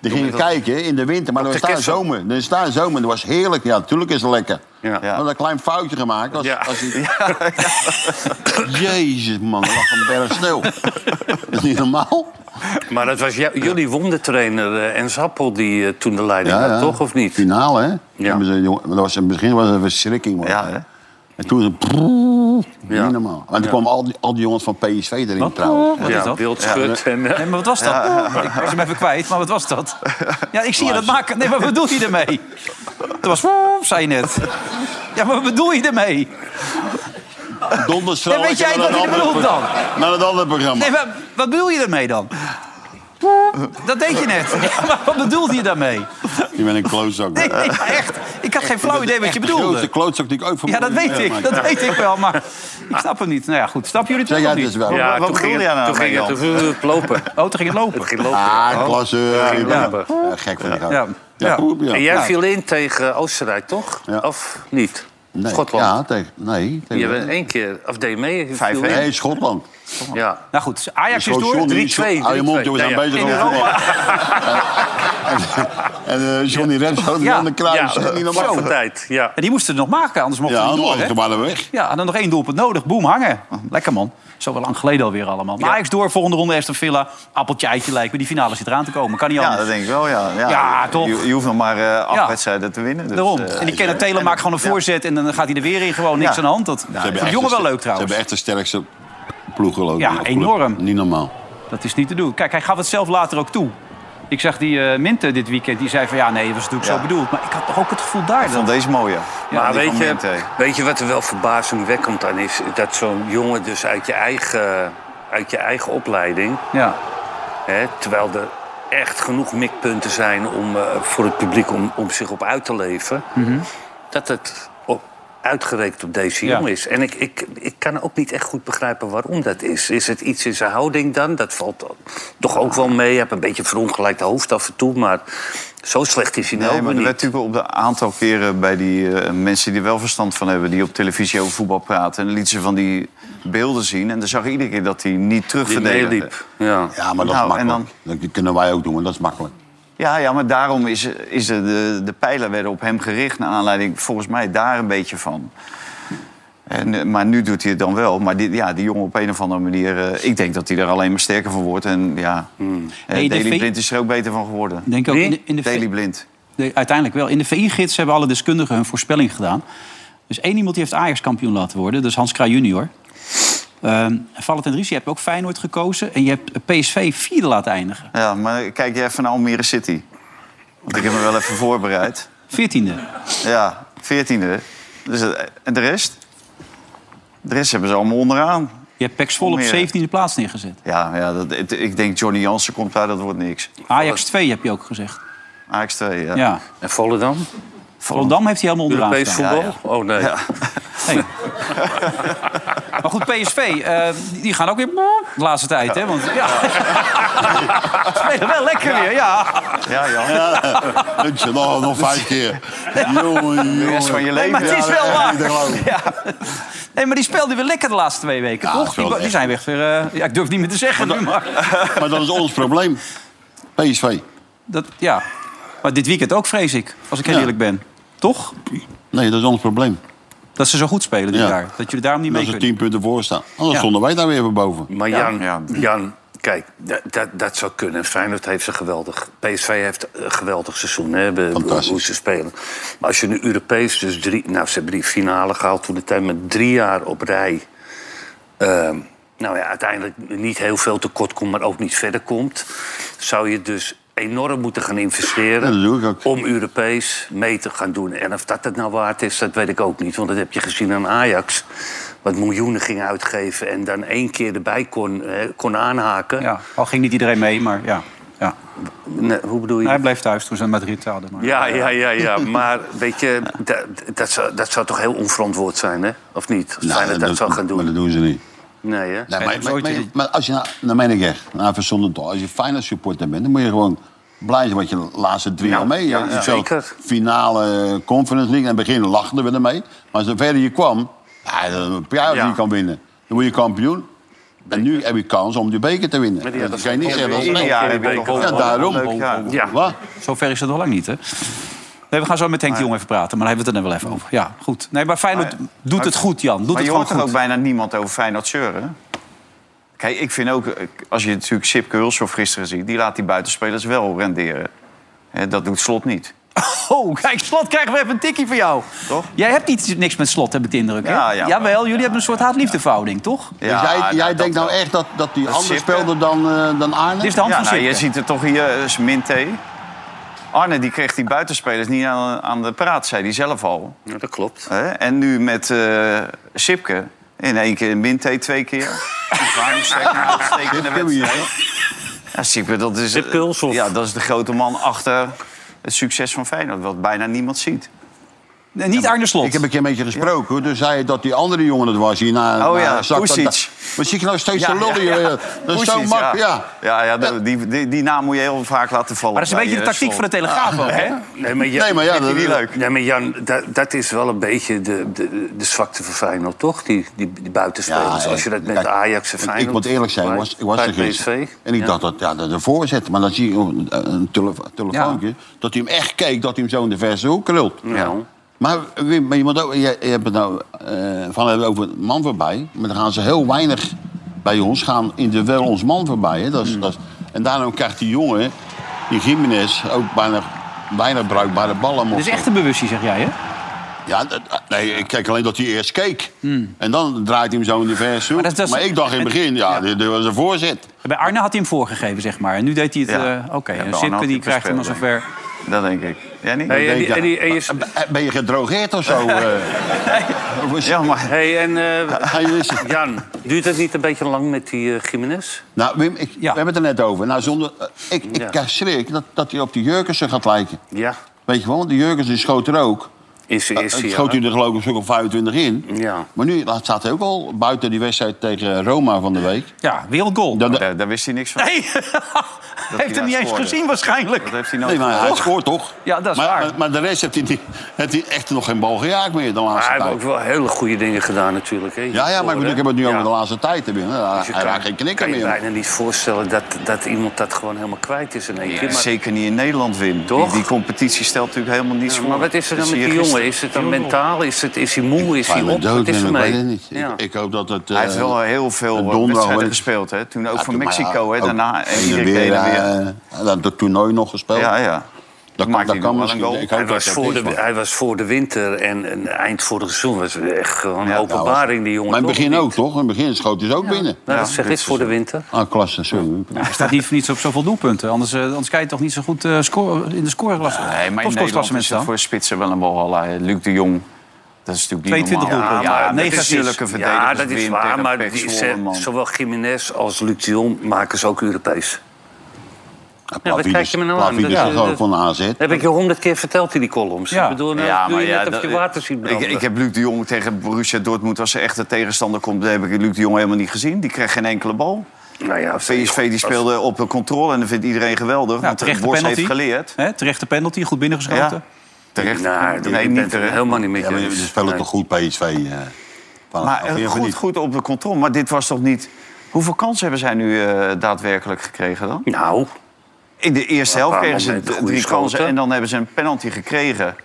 S4: Die gingen kijken in de winter, maar er was
S5: Dr.
S4: daar
S5: Kessel.
S4: zomer. Er was daar zomer, dat was heerlijk. Ja, natuurlijk is het lekker.
S5: Ja.
S4: We hadden een klein foutje gemaakt. Als,
S5: Ja.
S4: als hij- Jezus, man, er lag een berg sneeuw. dat is niet normaal.
S5: Maar dat was jou- jullie wondertrainer eh, Ens Appel die eh, toen de leiding had, toch? Of niet?
S4: Finale, hè?
S5: Ja.
S4: Hebben ze- jongen, Dat was, in het begin was het een verschrikking, man.
S8: Ja, hè?
S4: En toen ze...
S5: Ja.
S4: Niet normaal. En toen kwamen al die, al die jongens van PSV erin, trouwens.
S2: Wat is
S5: Ja,
S2: dat?
S5: wildschut. en, eh,
S2: Nee, maar wat was dat? Ik was hem even kwijt, maar wat was dat? Ja, ik zie je dat maken. Nee, maar wat bedoel je ermee? Het was woep, zei je net. Ja, maar wat bedoel je ermee?
S4: Donderstraal.
S2: Ja, weet
S4: had je
S2: jij
S4: naar
S2: wat
S4: een
S2: je
S4: ander
S2: bedoelt
S4: pro-
S2: dan?
S4: Naar het andere programma.
S2: Nee, maar wat bedoel je ermee dan? Dat deed je net. Ja, maar wat bedoelde je daarmee?
S4: Je bent een klootzak.
S2: Nee, nee, maar echt. Ik had geen flauw idee wat je
S4: Echt de grootste
S2: bedoelde.
S4: klootzak die ik ook van
S2: Ja, dat
S4: mijn
S2: weet
S4: leven
S2: ik.
S4: meegemaakt
S2: Dat
S4: heb.
S2: weet ik wel, maar ik snap hem niet. Nou ja, goed. Snap jullie het
S4: Zeg
S2: wel
S4: jij
S2: of
S4: het dus
S2: niet?
S4: wel.
S5: ja,
S8: wat
S5: toen ging
S8: bedoelde
S5: het,
S8: jij nou
S5: toen ging
S8: mee,
S5: het eh, lopen.
S2: Oh, toen ging het lopen.
S5: Het ging lopen.
S4: Ah, klasse. ik ben-
S5: lopen.
S4: ja, gek van die
S2: Ja.
S4: gasten.
S2: Ja.
S4: Ja, goed, ja.
S5: En jij
S4: Ja.
S5: viel in tegen Oostenrijk, toch?
S4: Ja.
S5: Of niet?
S4: Nee,
S5: Schotland.
S4: Ja, tegen... Nee. tegen-
S5: Je bent één keer, of deed je mee? Je
S8: Vijf
S5: viel in.
S4: Nee, Schotland.
S5: Ja.
S2: Nou goed, Ajax is
S4: Zo,
S2: door.
S4: Johnny,
S5: 3-2,
S4: Hou je mond,
S5: 3-2.
S4: jongen, we zijn
S5: Ja, ja.
S4: bezig
S2: In
S4: over
S2: Europa.
S4: En eh, Johnny Rens had
S2: Ja.
S4: ja. de kruis.
S5: Ja,
S4: Ja. Niet normaal.
S5: wat voor tijd. Ja.
S2: En die moesten het nog maken, anders mochten
S4: Ja,
S2: we niet door.
S4: anders
S2: hè?
S4: waren we weg.
S2: Ja, en dan nog één doelpunt nodig. Boom, hangen. Lekker man. Zo wel lang geleden alweer allemaal. Maar Ajax door, volgende ronde Aston Villa. Appeltje eitje lijkt me. Die finale zit eraan te komen. Kan niet
S8: Ja,
S2: anders.
S8: dat denk ik wel, ja. Ja,
S2: Ja, toch?
S8: Je, je hoeft nog maar eh acht
S2: Ja.
S8: wedstrijden te winnen. Dus,
S2: Daarom.
S8: eh,
S2: en die kennen Telen maakt gewoon een voorzet en dan gaat hij er weer in. Gewoon niks
S8: Ja.
S2: aan de hand. Dat
S4: Ze hebben
S2: vond de
S4: echt
S2: jongen
S4: de
S2: wel
S4: ster-
S2: leuk trouwens.
S4: Ze hebben echt de sterkste ploeg geloof ik.
S2: Ja,
S4: Of club.
S2: enorm.
S4: Niet normaal.
S2: Dat is niet te doen. Kijk, hij gaf het zelf later ook toe. Ik zag die eh Minte dit weekend. Die zei van ja, nee, dat was natuurlijk
S8: Ja.
S2: zo bedoeld. Maar ik had toch ook het gevoel daar.
S8: Ik vond
S2: Dat...
S8: deze mooier.
S5: maar
S8: die
S5: weet
S8: van
S5: je,
S8: Minte.
S5: weet je wat er wel verbazingwekkend aan is? Dat zo'n jongen dus uit je eigen, uit je eigen opleiding...
S2: Ja.
S5: Hè, terwijl de echt genoeg mikpunten zijn om, eh, voor het publiek om, om zich op uit te leven. Dat het op, uitgerekend op deze
S2: Ja.
S5: jongen is. En ik, ik, ik kan ook niet echt goed begrijpen waarom dat is. Is het iets in zijn houding dan? Dat valt dan toch ook wel mee. Je hebt een beetje verongelijkte hoofd af en toe, maar zo slecht is hij nou
S8: Nee, maar er
S5: niet.
S8: werd natuurlijk op de aantal keren bij die eh, mensen die er wel verstand van hebben... die op televisie over voetbal praten. En dan lieten ze van die beelden zien. En dan zag je iedere keer dat hij niet
S5: Die
S8: terugverdedigde.
S5: meeliep. Ja.
S4: Ja, maar dat
S8: Nou,
S4: is
S8: en
S4: makkelijk. Dat kunnen wij ook doen, maar dat is makkelijk.
S8: Ja, ja, maar daarom is, is er de, de pijlen werden op hem gericht... naar aanleiding volgens mij daar een beetje van. En, eh, maar nu doet hij het dan wel. Maar die, ja, die jongen op een of andere manier... eh, ik denk dat hij er alleen maar sterker van wordt. En ja, eh,
S2: Hmm. Hey, de
S8: Daley
S2: V-
S8: Blind is er ook beter van geworden.
S2: Ik Denk ook in de, in de
S8: Daley
S2: V-
S8: Blind.
S2: de- uiteindelijk wel. In de VI-gids hebben alle deskundigen hun voorspelling gedaan. Dus één iemand die heeft Ajax kampioen laten worden. Dat is Hans Kraaij junior. Ehm Valentin Riesie, je hebt ook Feyenoord gekozen. En je hebt PSV vierde laten eindigen.
S8: Ja, maar kijk jij even naar Almere City. Want ik heb me wel even voorbereid.
S2: Veertiende.
S8: Ja, veertiende. Dus, eh, en de rest? De rest hebben ze allemaal onderaan.
S2: Je hebt Pax Vol op
S8: Almere.
S2: zeventiende plaats neergezet.
S8: Ja, ja dat, het- ik denk Johnny Jansen komt daar, dat wordt niks.
S2: Ajax 2 heb je ook gezegd.
S8: Ajax 2, ja.
S2: Ja.
S5: En Volendam?
S2: Volendam heeft hij helemaal onderaan
S5: Europees
S2: staan.
S5: voetbal? Oh nee.
S2: Nee. maar goed, PSV, eh, die gaan ook weer de laatste tijd, hè? Want ja, Ze spelen wel lekker weer, ja.
S8: Ja, Jan.
S4: Ik zeg, oh, nog vijf keer. Jongen,
S8: De rest van
S4: jongen.
S8: je leven.
S2: Nee, maar het is
S4: dat
S2: wel
S4: is
S2: waar.
S4: niet te geloven.
S2: Ja. Nee, maar die speelden weer lekker de laatste twee weken,
S4: Ja,
S2: toch?
S4: het
S2: Die,
S4: speelde
S2: die
S4: echt.
S2: zijn weg weer... eh, ja, ik durf het niet meer te zeggen nu, maar...
S4: Maar dat is ons probleem. PSV.
S2: Dat, ja. Maar dit weekend ook, vrees ik, als ik heel
S4: Ja.
S2: eerlijk ben. Toch?
S4: Nee, dat is ons probleem.
S2: Dat ze zo goed spelen dit
S4: Ja.
S2: jaar. Dat jullie daarom niet
S4: Dat
S2: mee
S4: ze
S2: kunnen.
S4: tien punten voor staan. Anders
S2: Ja.
S4: stonden wij daar weer boven.
S5: Maar Jan,
S8: Ja.
S5: Jan kijk, dat, dat, dat zou kunnen. Feyenoord heeft een geweldig... PSV heeft een geweldig seizoen, hè, be-
S4: Fantastisch.
S5: hoe ze spelen. Maar als je nu Europees, dus drie... Nou, ze hebben die finale gehaald toen de tijd met drie jaar op rij... ehm, nou ja, uiteindelijk niet heel veel tekort komt, maar ook niet verder komt... zou je dus enorm moeten gaan investeren...
S4: Ja, dat doe ik ook.
S5: om Europees mee te gaan doen. En of dat het nou waard is, dat weet ik ook niet. Want dat heb je gezien aan Ajax. Wat miljoenen ging uitgeven en dan één keer erbij kon, eh, kon aanhaken.
S2: Ja, al ging niet iedereen mee, maar ja. ja.
S5: Nee, hoe bedoel je?
S2: Hij bleef thuis toen ze in Madrid hadden. Maar...
S5: Ja, ja, ja, ja. Maar weet je, dat, dat, zou, dat zou toch heel onverantwoord zijn, hè? Of niet? Als
S4: Nou,
S5: Feyenoord dat, zou gaan
S4: Maar
S5: doen.
S4: dat doen ze niet.
S5: Nee, hè?
S4: Nee, maar,
S2: Feyenoord
S4: maar-
S2: ooit
S4: maar-
S2: is het-
S4: maar als je, nou, nou meen ik echt, nou, even zonder toch, als je Feyenoord supporter bent, dan moet je gewoon blij zijn wat je de laatste drie
S5: Nou,
S4: jaar mee.
S5: ja,
S4: hebt.
S5: ja,
S4: Zo,
S5: zeker.
S4: Finale eh, Conference League, en in het begin lachten we ermee. Maar zover je kwam, ja, dan heb je
S5: Ja.
S4: niet kan winnen. Dan word je kampioen. En nu heb je kans om de beker te winnen.
S5: Maar die
S4: dat
S5: hadden
S4: kan je niet
S5: ze-
S4: zeggen. Dat is
S8: Ieder
S4: nee.
S8: jaar heb je toch
S4: Ja,
S8: wel
S4: daarom.
S8: een leuk jaar.
S5: Ja.
S4: Wat?
S2: Zover is het nog lang niet, hè? Nee, we gaan zo met Henk de Jong even praten, maar daar hebben we het er dan wel even over. Ja, goed. Nee, maar Feyenoord
S8: Maar-
S2: doet het goed, Jan. Doet
S8: maar
S2: het
S8: je
S2: gewoon
S8: hoort toch ook
S2: goed.
S8: bijna niemand over Feyenoord zeuren? Kijk, ik vind ook, eh, als je natuurlijk Sipke Hulshoff gisteren ziet... die laat die buitenspelers wel renderen. Hè, Dat doet Slot niet.
S2: Oh, kijk, Slot krijgen we even een tikkie van jou.
S8: Toch?
S2: Jij hebt iets, niks met Slot, heb ik de indruk, hè?
S8: Ja, ja.
S2: Jawel, jullie hebben een soort haat-liefdeverhouding, toch?
S8: Ja,
S4: dus jij,
S8: nou,
S4: jij
S8: dat
S4: denkt nou
S8: wel.
S4: echt dat, dat die
S8: Dat
S4: anders
S8: Sipke-
S4: speelde dan, eh, dan Arne?
S2: Dit is de hand
S8: Ja,
S2: van
S8: nou, je
S2: Sipke.
S8: ziet het toch hier, is Minté. Arne die kreeg die buitenspelers niet aan, aan de praat, zei hij zelf al.
S5: Ja, dat klopt.
S8: Hè? En nu met eh Sipke. In één keer Minté twee keer. Waarom nou uitstekende wedstrijd? Ja, Sipke, dat is, eh,
S5: Sipke Hulshoff.
S8: ja, dat is de grote man achter het succes van Feyenoord. Wat bijna niemand ziet.
S2: Nee, niet Arne Slot.
S4: Ik heb een keer met je gesproken, hoor. Toen zei je dat die andere jongen het was hier na.
S8: Oh
S4: na-
S8: ja,
S4: zak-
S8: Pusic.
S4: dat- Maar zie ik nou steeds
S8: Ja,
S4: te lullen
S8: ja,
S4: hier.
S8: ja.
S4: Dat is zo
S8: Poesies,
S4: makkelijk, ja.
S8: Ja, ja, dat- die, die, die naam moet je heel vaak laten vallen. eh,
S2: Maar dat is een beetje de tactiek van de Telegraaf ook, hè?
S5: Nee, maar Jan,
S4: Nee, maar ja,
S5: vind je
S4: dat-
S5: die
S4: dat-
S5: leuk? Nee, maar Jan, dat, dat is wel een beetje de, de, de zwakte van Feyenoord, toch? Die, die, die buitenspelers.
S4: Ja,
S5: Dus Als je dat met
S4: kijk,
S5: Ajax en
S4: ik-
S5: Feyenoord...
S4: Ik moet eerlijk zijn, ik was, ik was
S5: bij
S4: er gisteren.
S5: PSV.
S4: En ik
S5: Ja.
S4: dacht dat ja, dat de voorzet, maar dan zie je een, een tele- telefoontje... dat hij hem echt keek, dat hij hem zo in de verse hoek lult.
S5: Ja.
S4: Maar, Wim, maar je, moet ook, je, je hebt het nou eh, van hebben over het man voorbij... maar dan gaan ze heel weinig bij ons gaan in de wel ons man voorbij. Hè? Dat
S5: Hmm.
S4: is, dat is- en daarom krijgt die jongen, die Jiménez, ook bijna, bijna bruikbare ballen.
S2: Dit is echt een bewustzijn, zeg jij, hè?
S4: Ja, dat- nee, ik kijk alleen dat hij eerst keek. En dan draait hij hem zo in de verse hoek.
S2: Maar
S4: Hmm. Maar,
S2: dat- dat is-
S4: ik dacht in het begin, ja,
S2: Ja.
S4: Dit, dit was een voorzet.
S2: Bij Arne had hij hem voorgegeven, zeg maar. En nu deed hij het...
S8: Ja.
S2: eh, Oké,
S8: Ja,
S2: en
S8: bij Arne
S2: Sipke
S8: had
S2: die
S8: hij
S2: krijgt hem al
S8: gespeeld,
S2: zover...
S8: Dat denk ik. Jij niet?
S5: Hey, en die-
S4: Ja. Ah,
S5: en die- en die-
S4: eh, Ben je gedrogeerd of zo? eh?
S8: Ja, maar...
S5: Hey, en eh,
S4: Ga je wissen?
S5: Jan, duurt het niet een beetje lang met die eh Jiménez?
S4: Nou, Wim, ik, we hebben het er net over. Nou, zonder, eh, ik ik
S5: Ja.
S4: krijg schrik dat, dat hij op die Jurkensen gaat lijken.
S5: Ja.
S4: Weet je wel, want die Jurkensen schoot er ook.
S5: Is, is,
S4: Eh,
S5: ja.
S4: schoot hij er geloof ik zo'n op 25 in.
S5: Ja.
S4: Maar nu laat- staat hij ook al buiten die wedstrijd tegen Roma van de week.
S2: Ja, wereldgoal.
S4: Dan,
S8: Daar, daar wist hij niks van.
S2: Nee,
S8: hij
S2: heeft hem niet
S8: daar
S2: eens
S8: scoorde.
S2: gezien waarschijnlijk.
S8: Dat heeft hij nooit
S4: nee, maar hij
S8: gedaan.
S4: scoort toch?
S2: Ja, dat is
S4: maar,
S2: waar.
S4: Maar, maar de rest heeft hij, niet- heeft hij echt nog geen bal gejaagd meer de
S5: Maar
S4: laatste
S5: hij heeft ook
S4: tijd.
S5: wel hele goede dingen gedaan natuurlijk. Hè,
S4: Ja, ja, maar ik bedoel, ik heb het nu
S5: Ja.
S4: over de laatste tijd. hè, Wim. Hij,
S5: Dus je
S4: hij
S5: kan-
S4: raakt geen knikker
S5: kan
S4: meer.
S5: je bijna niet voorstellen dat, dat iemand dat gewoon helemaal kwijt is in één keer. Maar,
S8: Zeker niet in Nederland, Wim. Die,
S5: Toch?
S8: die competitie stelt natuurlijk helemaal niets
S5: Ja,
S8: voor.
S5: maar wat is er
S8: Dat
S5: dan met
S8: zie
S5: die
S8: je
S5: jongen?
S8: gisteren.
S5: Is het dan mentaal? Is, het, is hij moe? Is hij
S4: Hij
S5: op?
S4: dood,
S5: Wat is
S4: Wim,
S5: er
S4: ik
S5: mee?
S4: weet het niet. Ik-
S5: Ja.
S4: Ik, hoop dat het...
S8: Hij heeft
S4: eh,
S8: wel heel
S4: eh,
S8: veel eh,
S4: donderdag
S8: wedstrijden
S4: wel eens-
S8: gespeeld, hè? Toen
S4: Ja,
S8: ook voor
S4: toen, maar
S8: Mexico, hè?
S4: ja,
S8: Daarna
S4: ook
S8: en
S4: heen
S8: iedere
S4: en
S8: keer
S4: weer.
S8: heen en weer.
S4: eh, dat- Dat toernooi nog gespeeld.
S8: Ja, ja.
S4: Dat,
S8: maakt
S4: dat
S8: hij
S4: kan
S8: nog wel
S4: misschien.
S8: een goal.
S4: Ik hoop
S5: Hij
S4: dat
S5: was,
S4: hij
S5: voor
S4: niks
S5: de,
S4: van-
S5: hij was voor de winter en, en eind vorig seizoen was het echt gewoon een
S4: Nou,
S5: openbaring, die jongen.
S4: Maar in het
S5: toch?
S4: begin ook, toch? In het begin schoot hij ze ook binnen.
S5: Nou,
S8: Ja,
S5: dat zeg
S8: dit
S5: ik voor de winter.
S4: Ah, klasse, sorry.
S2: Hij staat niet voor niets op zoveel doelpunten. Anders, eh, anders kan je toch niet zo goed eh, score, in de scoreklasse.
S8: Nee, maar in Nederland
S2: topscoreklassement
S8: is het
S2: staan.
S8: voor spitsen wel een walhalla. hè. Luc de Jong, dat is natuurlijk niet
S2: 22
S5: Ah,
S8: normaal.
S2: doelpunten.
S8: Ja,
S2: Ja,
S8: maar
S2: negen
S8: dat is
S2: assists.
S8: zulke verdedigers.
S5: Ja, dat is
S8: Wim
S5: waar.
S8: tegen
S5: Maar
S8: Pek
S5: die,
S8: Zwolle, man.
S5: zowel Jiménez als Luc de Jong maken ze ook Europees. Ja, wat kijk je me nou aan?
S4: Plavidus
S5: Dat-
S4: is gewoon
S5: dat-
S4: van AZ.
S5: Heb ik je honderd keer verteld in die columns?
S2: Ja.
S5: Ik bedoel, nou,
S8: Ja,
S5: doe
S8: maar
S5: je
S8: ja,
S5: net of
S8: dat-
S5: je water ziet
S8: ik,
S5: branden.
S8: ik heb Luc de Jong tegen Borussia Dortmund, als er echt een tegenstander komt, heb ik Luc de Jong helemaal niet gezien. Die kreeg geen enkele bal.
S5: nou ja,
S8: PSV die speelde op een controle en dat vindt iedereen geweldig.
S2: Ja,
S8: want de
S2: terechte
S8: Bos
S2: penalty.
S8: heeft geleerd.
S2: Hè, terechte penalty, goed binnengeschoten.
S8: Ja, terecht.
S5: Nou,
S8: nee,
S5: ik ben
S8: niet eh,
S5: het er
S8: terecht.
S5: helemaal niet mee
S4: Ja, maar ze
S5: eens.
S4: spelen
S5: Nee.
S4: toch goed PSV. eh, vanaf
S8: Maar
S4: af,
S8: eh,
S4: of
S8: goed,
S4: niet?
S8: goed op de controle. Maar dit was toch niet... Hoeveel kansen hebben zij nu eh, daadwerkelijk gekregen dan?
S5: Nou,
S8: In de eerste
S5: Een
S8: helft
S5: paar
S8: kregen ze
S5: momenten
S8: d-
S5: goede
S8: drie
S5: schoten.
S8: kansen en dan hebben ze een penalty gekregen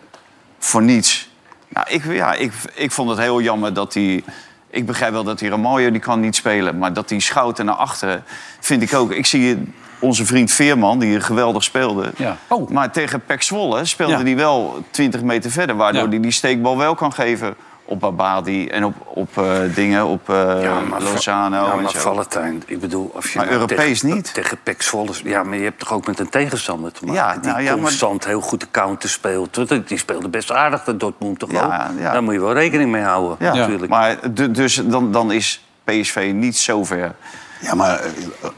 S8: voor niets. Nou, ik, ja, ik, ik vond het heel jammer dat hij... Ik begrijp wel dat die Ramaljo die kan niet spelen, maar dat die schouten naar achteren vind ik ook. Ik zie onze vriend Veerman, die geweldig speelde.
S2: Ja. Oh.
S8: Maar tegen Pek Zwolle speelde
S2: Ja.
S8: hij wel 20 meter verder, waardoor
S2: Ja.
S8: hij die steekbal wel kan geven op Abadi en op, op eh, dingen, op eh,
S5: ja, maar
S8: Lozano.
S5: Ja,
S8: en
S5: maar
S8: zo.
S5: Valentijn, ik bedoel... Of je
S8: Maar
S5: nou
S8: Europees
S5: tegen,
S8: niet.
S5: Tegen Pek Zwolle... Ja, maar je hebt toch ook met een tegenstander te maken...
S8: Ja,
S5: die
S8: nou ja, maar-
S5: constant heel goed de counter speelt. Want Die speelde best aardig, dat Dortmund toch
S8: Ja,
S5: ook?
S8: ja.
S5: Daar moet je wel rekening mee houden,
S8: Ja,
S5: natuurlijk.
S8: maar du- dus dan, dan is PSV niet zo ver.
S4: Ja, maar... eh, eh,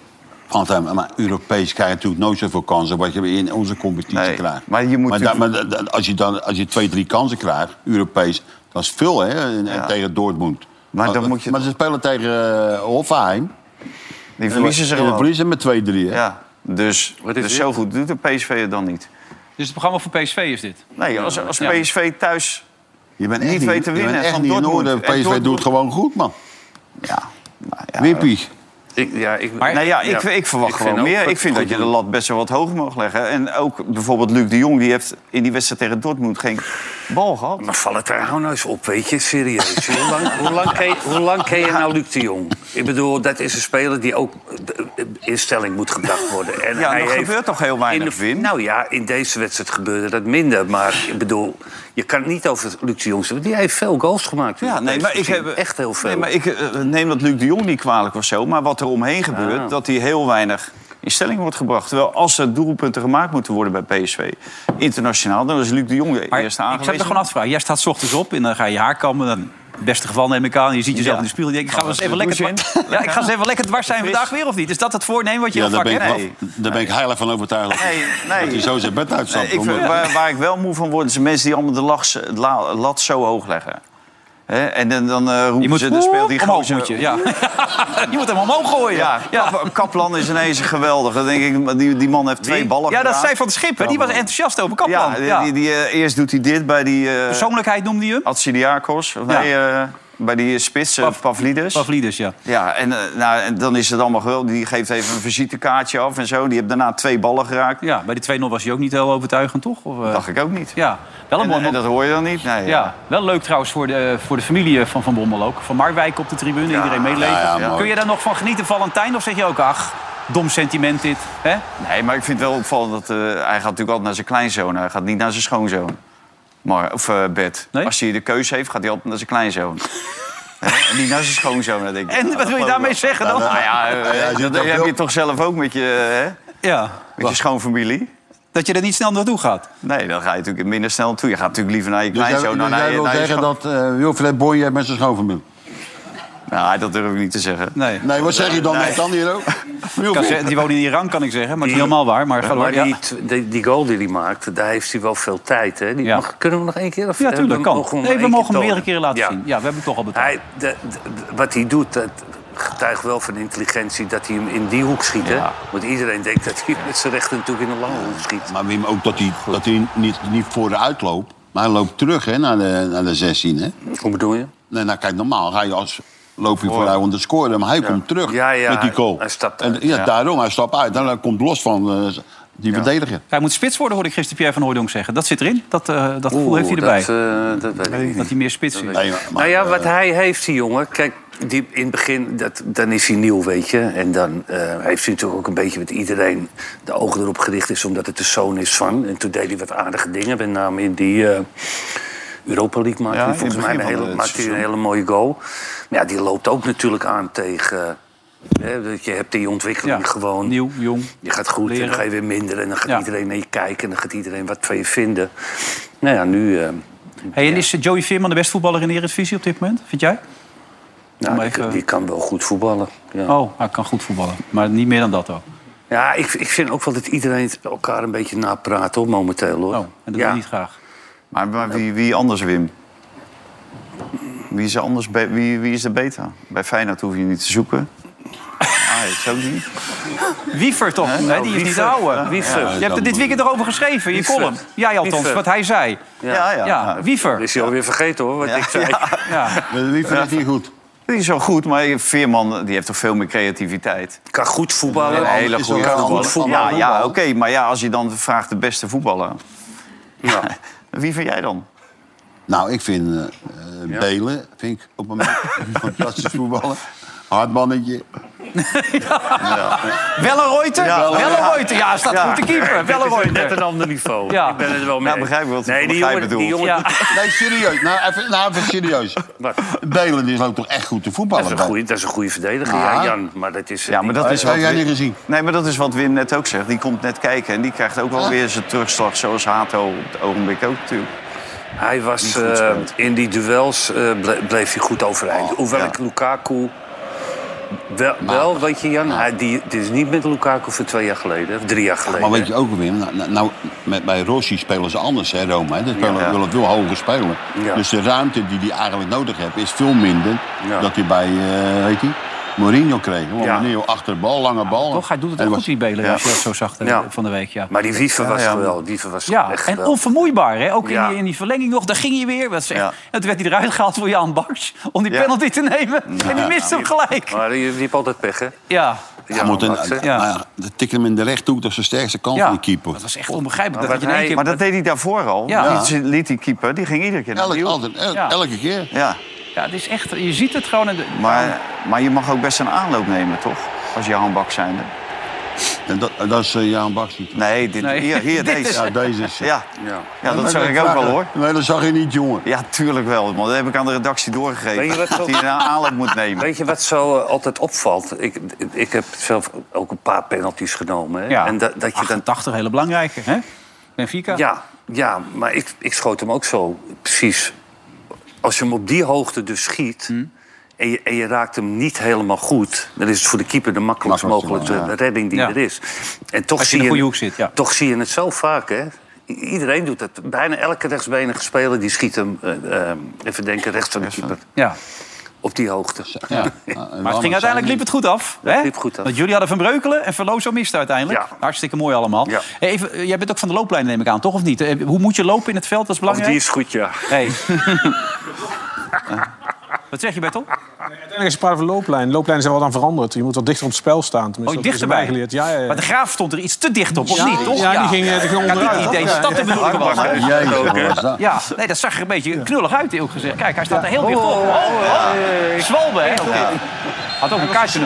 S4: Valentijn, maar Europees krijg je natuurlijk nooit zoveel kansen... wat je in onze competitie
S8: Nee,
S4: krijgt.
S8: maar je moet
S4: maar,
S8: natuurlijk-
S4: da- maar da- da- als, je dan, als je twee, drie kansen krijgt, Europees... dat is veel, hè, en- en
S8: Ja.
S4: tegen Dortmund.
S8: Maar dan moet je-
S4: maar ze spelen tegen eh, Hoffenheim.
S8: Die verliezen ze
S4: En dan
S8: gewoon.
S4: verliezen met 2-3, hè?
S8: Ja, dus,
S5: is
S8: dus
S5: dit?
S8: zo goed doet de PSV het dan niet.
S2: Dus het programma voor PSV is dit.
S8: Nee, als, als
S2: Ja.
S8: PSV thuis...
S4: Je bent
S8: Niet
S4: echt
S8: weten
S4: je bent
S8: winnen
S4: echt
S8: van
S4: niet in
S8: Dortmund.
S4: orde.
S8: En
S4: PSV
S8: Dortmund-
S4: doet gewoon goed, man.
S8: Ja, nou ja.
S4: Wimpie.
S5: Ik, ja, ik,
S2: Maar-
S8: Nou ja, ik, ik verwacht
S5: Ik vind
S8: gewoon
S5: ook
S8: meer.
S5: dat
S8: Ik vind
S5: het
S8: dat je
S5: goed
S8: de
S5: doet.
S8: lat best wel wat hoog mag leggen. En ook bijvoorbeeld Luc de Jong, die heeft in die wedstrijd tegen Dortmund geen bal gehad.
S5: Maar Valentijn, hou nou eens op, weet je, serieus. hoe, lang, hoe, lang ken, je- hoe lang ken je nou Luc de Jong? Ik bedoel, dat is een speler die ook eh, eh, in stelling moet gebracht worden. En
S8: Ja,
S5: hij
S8: er
S5: heeft-
S8: gebeurt toch heel
S5: in
S8: weinig,
S5: de-
S8: Wim?
S5: Nou ja, in deze wedstrijd gebeurde dat minder. Maar ik bedoel, je kan het niet over Luc de Jong zeggen. want Die heeft veel goals gemaakt.
S8: Ja, nee, maar ik heb
S5: Echt heel veel.
S8: Nee, maar ik eh, neem dat Luc de Jong niet kwalijk of zo. Maar wat er omheen gebeurt,
S5: Ah.
S8: dat hij heel weinig in stelling wordt gebracht. Terwijl als er doelpunten gemaakt moeten worden bij PSV, internationaal, dan is Luc de Jong de
S2: Maar
S8: eerste
S2: ik zou
S8: aangewezen.
S2: er gewoon afvragen. Jij staat 's ochtends op en dan ga je je haar kammen. Dan, in het beste geval neem ik aan. Je ziet jezelf
S8: Ja.
S2: in de spiegel en je denkt... Ik ga, wel eens even
S8: de
S2: lekker,
S8: douche in.
S2: ja, ik ga eens even lekker dwars zijn
S8: Fris.
S2: vandaag weer of niet? Is dat het voornemen wat je
S4: Ja,
S2: heel
S4: daar
S2: vaak
S4: ben, ik,
S2: hebt?
S8: Nee.
S4: wel- daar ben ik heilig van overtuigd. dat-
S8: Nee, nee.
S4: Dat hij zo zijn bed
S8: Nee,
S4: uitstapt.
S8: ik vind-
S4: Omdat-
S8: waar, waar ik wel moe van word, zijn mensen die allemaal de lach, de la- lat zo hoog leggen. Hè? En dan, dan eh, roepen
S2: Je moet
S8: ze, dan speelt die
S2: omhoog
S8: gozer-
S2: moet je. Ja. je moet hem omhoog gooien.
S8: Ja, Kap- Kaplan is ineens geweldig. Dan denk ik, maar die, die man heeft twee ballen
S2: Ja, dat
S8: geraakt.
S2: zei Van de Schip. hè. Die was enthousiast over Kaplan.
S8: Ja,
S2: Ja,
S8: die, die, die, eh, eerst doet hij dit bij die... eh,
S2: Persoonlijkheid noemde je hem?
S8: Atsidiakos, of nee, eh, bij die spits, eh,
S2: Pav-
S8: Pavlidis.
S2: Pavlidis, dus, ja.
S8: ja, en, eh, nou, en dan is het allemaal geweldig. Die geeft even een visitekaartje af en zo. Die heeft daarna twee ballen geraakt.
S2: Ja, bij die 2-0 was hij ook niet heel overtuigend, toch? Of, eh,
S8: Dat dacht ik ook niet.
S2: Ja,
S5: eh,
S8: En, eh,
S2: wel een mooi
S8: en
S2: moment.
S8: dat hoor je dan niet? Nee,
S2: Ja, wel leuk trouwens voor de, voor de familie eh, van Van Bommel ook. Van Marwijk op de tribune, iedereen meeleven.
S4: Ja, ja, mooi.
S2: Kun je daar nog van genieten, Valentijn? Of zeg je ook, ach, dom sentiment dit. Hè?
S8: eh, nee, maar ik vind het wel opvallend dat eh, hij gaat natuurlijk altijd naar zijn kleinzoon. Hij gaat niet naar zijn schoonzoon. Maar, of eh Bert.
S2: Nee?
S8: Als hij de keuze heeft, gaat hij altijd naar zijn kleinzoon. Hè? en niet naar zijn schoonzoon, dan denk ik.
S2: En
S8: nou,
S2: wat
S8: dat
S2: wil je
S8: geloof ik
S2: daarmee
S8: wel.
S2: zeggen dan?
S8: Nou ja, eh,
S4: Ja, hij zit
S8: dat
S4: op
S8: heb
S4: heel-
S8: je toch zelf ook met je, hè,
S2: Ja,
S8: met je schoonfamilie?
S2: Dat je er niet snel naartoe gaat.
S8: Nee, dan ga je natuurlijk minder snel naartoe. Je gaat natuurlijk liever naar je
S4: Dus jij,
S8: kleinshow dan
S4: dus
S8: naar
S4: jij
S8: je...
S4: wil
S8: naar je
S4: zeggen
S8: scho-
S4: dat eh Wilfred Bonje met zijn schoonfamilie...
S8: Nou, dat durf ik niet te zeggen.
S2: Nee.
S4: Nee, wat zeg je dan net dan hier ook?
S2: Ik kan zeggen- die wonen in Iran, kan ik zeggen. Maar het is niet
S5: Die-
S2: helemaal waar. Maar, ga
S5: maar
S2: door, ja.
S5: die, tw- die, die goal die hij maakt, daar heeft hij wel veel tijd. Hè? Die
S2: Ja.
S5: mag- kunnen we nog één keer? Of
S2: ja, tuurlijk, kan.
S5: Eh, mogen hem
S2: nee,
S5: nog
S2: we
S5: één
S2: mogen hem
S5: tonen?
S2: meerdere keren laten
S5: Ja.
S2: zien. Ja, we hebben hem toch al betaald.
S5: Hij, de- de- wat hij doet, dat getuigt wel van intelligentie dat hij hem in die hoek schiet. Hè? Want iedereen denkt dat hij met zijn rechter natuurlijk in een lange hoek schiet.
S4: Maar Wim, ook dat hij, dat hij niet, niet vooruit loopt. Maar hij loopt terug hè, naar, de, naar de 16. Hè?
S5: Hoe bedoel je?
S4: Nee, nou, kijk, normaal ga je als, loop je vooruit om te scoren. Maar hij komt terug
S5: Ja, ja,
S4: met die
S5: hij-
S4: goal.
S5: hij stapt
S4: en,
S5: uit,
S4: ja,
S5: ja.
S4: daarom. Hij stapt uit. Dan komt los van eh, die verdediger.
S2: Hij moet spits worden, hoorde ik gisteren Pierre van Hooydonk zeggen. Dat zit erin. Dat, eh, dat gevoel heeft hij
S5: Oeh,
S2: erbij.
S5: Dat, eh, dat weet ik niet.
S2: dat hij meer spits is.
S4: Nee, maar-
S5: nou ja, wat
S4: eh,
S5: hij heeft, die jongen. Kijk, die, in het begin, dat, dan is hij nieuw, weet je. En dan eh, heeft hij natuurlijk ook een beetje met iedereen de ogen erop gericht is, omdat het de zoon is van. En toen deed hij wat aardige dingen, met name in die eh, Europa League maakte
S8: Ja,
S5: hij
S8: in het
S5: volgens mij een
S8: begin van
S5: hele,
S8: het
S5: maakte hij een
S8: seizoen.
S5: hele mooie goal. Maar ja, die loopt ook natuurlijk aan tegen. eh, Hè, dat je hebt die ontwikkeling
S2: Ja,
S5: gewoon.
S2: Nieuw, jong.
S5: Je gaat goed en
S2: Leren.
S5: dan ga je weer minder. En dan gaat
S2: Ja.
S5: iedereen naar je kijken en dan gaat iedereen wat van je vinden. Nou ja, nu. eh,
S2: Hey, en is eh, Joey Veerman de beste voetballer in de Eredivisie op dit moment? Vind jij?
S5: nou,
S2: Maar
S5: die,
S2: even-
S5: die kan wel goed voetballen. Ja.
S2: Oh, hij kan goed voetballen. Maar niet meer dan dat ook.
S5: Ja, ik, ik vind ook wel dat iedereen het elkaar een beetje napraat hoor, momenteel hoor.
S2: Oh, en dat
S5: ja.
S2: wil ik niet graag.
S8: Maar, maar wie, wie anders, Wim? Wie is, er anders be- wie, wie is de beta? Bij Feyenoord hoef je niet te zoeken. Ajax ook niet.
S2: Wiever toch?
S5: Oh,
S2: Nee, die is niet de oude.
S5: Wiefer.
S2: Je hebt er dit weekend erover geschreven, in je
S5: Wiefer.
S2: column. Jij althans,
S5: Wiefer.
S2: wat hij zei.
S8: Ja, ja.
S2: Ja,
S8: ja.
S5: Dat
S2: Wiever.
S5: is hij alweer vergeten hoor, wat ik zei.
S2: Ja.
S4: Wie vindt het niet goed?
S8: Die is wel goed, maar Veerman die heeft toch veel meer creativiteit.
S5: Kan goed voetballen.
S8: Een hele
S4: is
S8: goede
S4: wel een
S8: voetballer.
S4: goed voetballer.
S8: Ja, ja oké. maar ja, als je dan vraagt de beste voetballer...
S5: Ja.
S8: Wie vind jij dan?
S4: Nou, ik vind eh, eh, Belen vind ik op een moment een fantastisch voetballen. Hardmannetje.
S2: Welleroyte?
S8: Ja.
S2: Welleroyte. Ja, staat
S8: Ja.
S2: goed te keeper.
S5: Net
S2: Welleroyte.
S5: een ander niveau.
S2: Ja.
S5: Ik ben het wel mee.
S8: Nou, begrijp ik wat-
S5: nee, die
S8: begrijp
S5: jongen,
S8: bedoel.
S5: die jongen
S2: Ja.
S4: Nee, serieus. Nou, even, nou, even serieus.
S5: Wat?
S4: Belen die loopt toch echt goed te voetballen?
S5: dat, is een
S4: dan?
S5: goeie, dat is een goede verdediger,
S4: Ja.
S5: ja, Jan. Maar dat is...
S8: Ja, maar dat is
S4: Heb
S8: wat
S4: jij
S8: Wim-
S4: niet gezien?
S8: Nee, maar dat is wat Wim net ook zegt. Die komt net kijken en die krijgt ook wel weer zijn terugslag... zoals Hato op het ogenblik ook natuurlijk.
S5: Hij was
S8: goed
S5: eh,
S8: speelt.
S5: in die duels eh, ble- bleef hij goed overeind. Hoewel
S8: ja.
S5: ik Lukaku. Wel, wel, weet je, Jan, hij, die, dit is niet met Lukaku van twee jaar geleden, of drie jaar geleden.
S4: Maar weet je ook weer, nou, nou- nou, met, bij Rossi spelen ze anders, hè, Rome. Hè? Ze spelen,
S8: Ja.
S4: willen veel hoger spelen.
S5: Ja.
S4: Dus de ruimte die hij eigenlijk nodig heeft, is veel minder
S5: Ja.
S4: dat hij bij, eh weet je, Mourinho kreeg. Want
S5: Ja.
S4: Mourinho achter de bal, lange bal.
S2: Toch, hij doet het
S4: En
S2: ook
S4: was-
S2: goed, die Belen,
S8: Ja.
S2: als je dat zo zag eh,
S5: Ja.
S2: van de week. Ja.
S5: Maar die Wiever was
S8: ja.
S5: wel. Wiever was
S2: Ja,
S5: echt
S2: en
S5: wel.
S2: onvermoeibaar. Hè? Ook in,
S5: Ja.
S2: die, in die verlenging nog, daar ging hij weer. Wat zeg.
S8: Ja.
S2: En toen werd hij eruit gehaald voor Jan Baks om die
S8: Ja.
S2: penalty te nemen. En die miste hem gelijk.
S5: Maar die, die heeft altijd pech, hè?
S2: Ja,
S4: Hij moet een,
S5: Max, hè?
S2: Ja.
S4: nou ja, dat tikt hem in de rechthoek, dat is de sterkste kant
S2: ja.
S4: van de keeper.
S2: dat was echt onbegrijpelijk.
S5: Maar
S2: Dat je in één
S5: hij-
S2: keer...
S8: Maar dat deed hij daarvoor al.
S2: Ja.
S8: Die liet die keeper, die ging iedere keer naar
S4: Elke,
S8: de hoek.
S4: altijd, el-
S2: Ja.
S4: elke keer.
S8: Ja,
S2: Ja, het is echt, je ziet het gewoon. in de-
S8: maar, maar je mag ook best een aanloop nemen, toch? Als je handbak zijnde.
S4: En dat, dat is eh, Jaan Baks niet.
S8: Nee, dit,
S2: Nee.
S8: hier, hier
S2: Dit
S8: deze.
S2: is-
S4: Ja, deze is...
S8: Ja.
S5: Ja.
S8: ja, dat
S4: Maar
S8: zag
S4: dat
S8: ik ook wel,
S4: vragen-
S8: hoor.
S4: Nee, dat zag je niet, jongen.
S8: Ja, tuurlijk wel. Man. Dat heb ik aan de redactie doorgegeven.
S5: Weet je wat
S8: dat
S5: zo-
S8: hij een aanloop moet nemen.
S5: Weet je wat zo eh, altijd opvalt? Ik, ik heb zelf ook een paar penalties genomen. Hè?
S2: ja.
S5: En dat, dat je dan
S2: 88, hele belangrijke. Hè? Benfica.
S5: Ja, ja maar ik, ik schoot hem ook zo precies. Als je hem op die hoogte dus schiet...
S2: Hm.
S5: En, je, en je raakt hem niet helemaal goed... dan is het voor de keeper de makkelijkst
S4: Makkelijkste
S5: mogelijke
S4: wel, ja.
S5: redding die
S2: Ja.
S5: er is. En toch
S2: Als je
S5: zie
S2: in de
S5: je,
S2: goede hoek zit, ja.
S5: Toch zie je het zo vaak, hè? I- Iedereen doet dat. Bijna elke rechtsbenige speler die schiet hem... eh, eh, even denken, rechts van de keeper.
S2: Ja.
S5: Op die hoogte.
S4: Ja.
S2: Maar het ging uiteindelijk liep het goed af. Hè?
S5: liep goed af.
S2: Want jullie hadden Van Breukelen en Verlozo mist uiteindelijk.
S5: Ja.
S2: Hartstikke mooi allemaal.
S5: Ja.
S2: Hey, even, eh, jij bent ook van de looplijn, neem ik aan, toch of niet? Eh, Hoe moet je lopen in het veld? Dat is
S5: Of
S2: belangrijk.
S5: die is goed, ja.
S2: Hey. Wat zeg je, Bertel?
S10: Uiteindelijk is het praten van looplijn. Looplijnen zijn wel dan veranderd. Je moet wat dichter op het spel staan. Tenminste,
S2: Oh,
S10: dat is
S2: dichterbij.
S10: mij geleerd. Ja, ja, ja.
S2: Maar de graaf stond er iets te dicht op, of niet? Toch?
S10: Ja, die ging, eh, die ging onderuit.
S2: niet eens dat bedoel ik wel.
S4: Jezus, wat was dat?
S2: Ja, nee, dat zag er een beetje knullig uit, heel gezegd. Kijk, hij staat er heel dicht
S8: Oh,
S2: op. Oh, Zwalbe, hè? ook dit. Had ook een kaartje.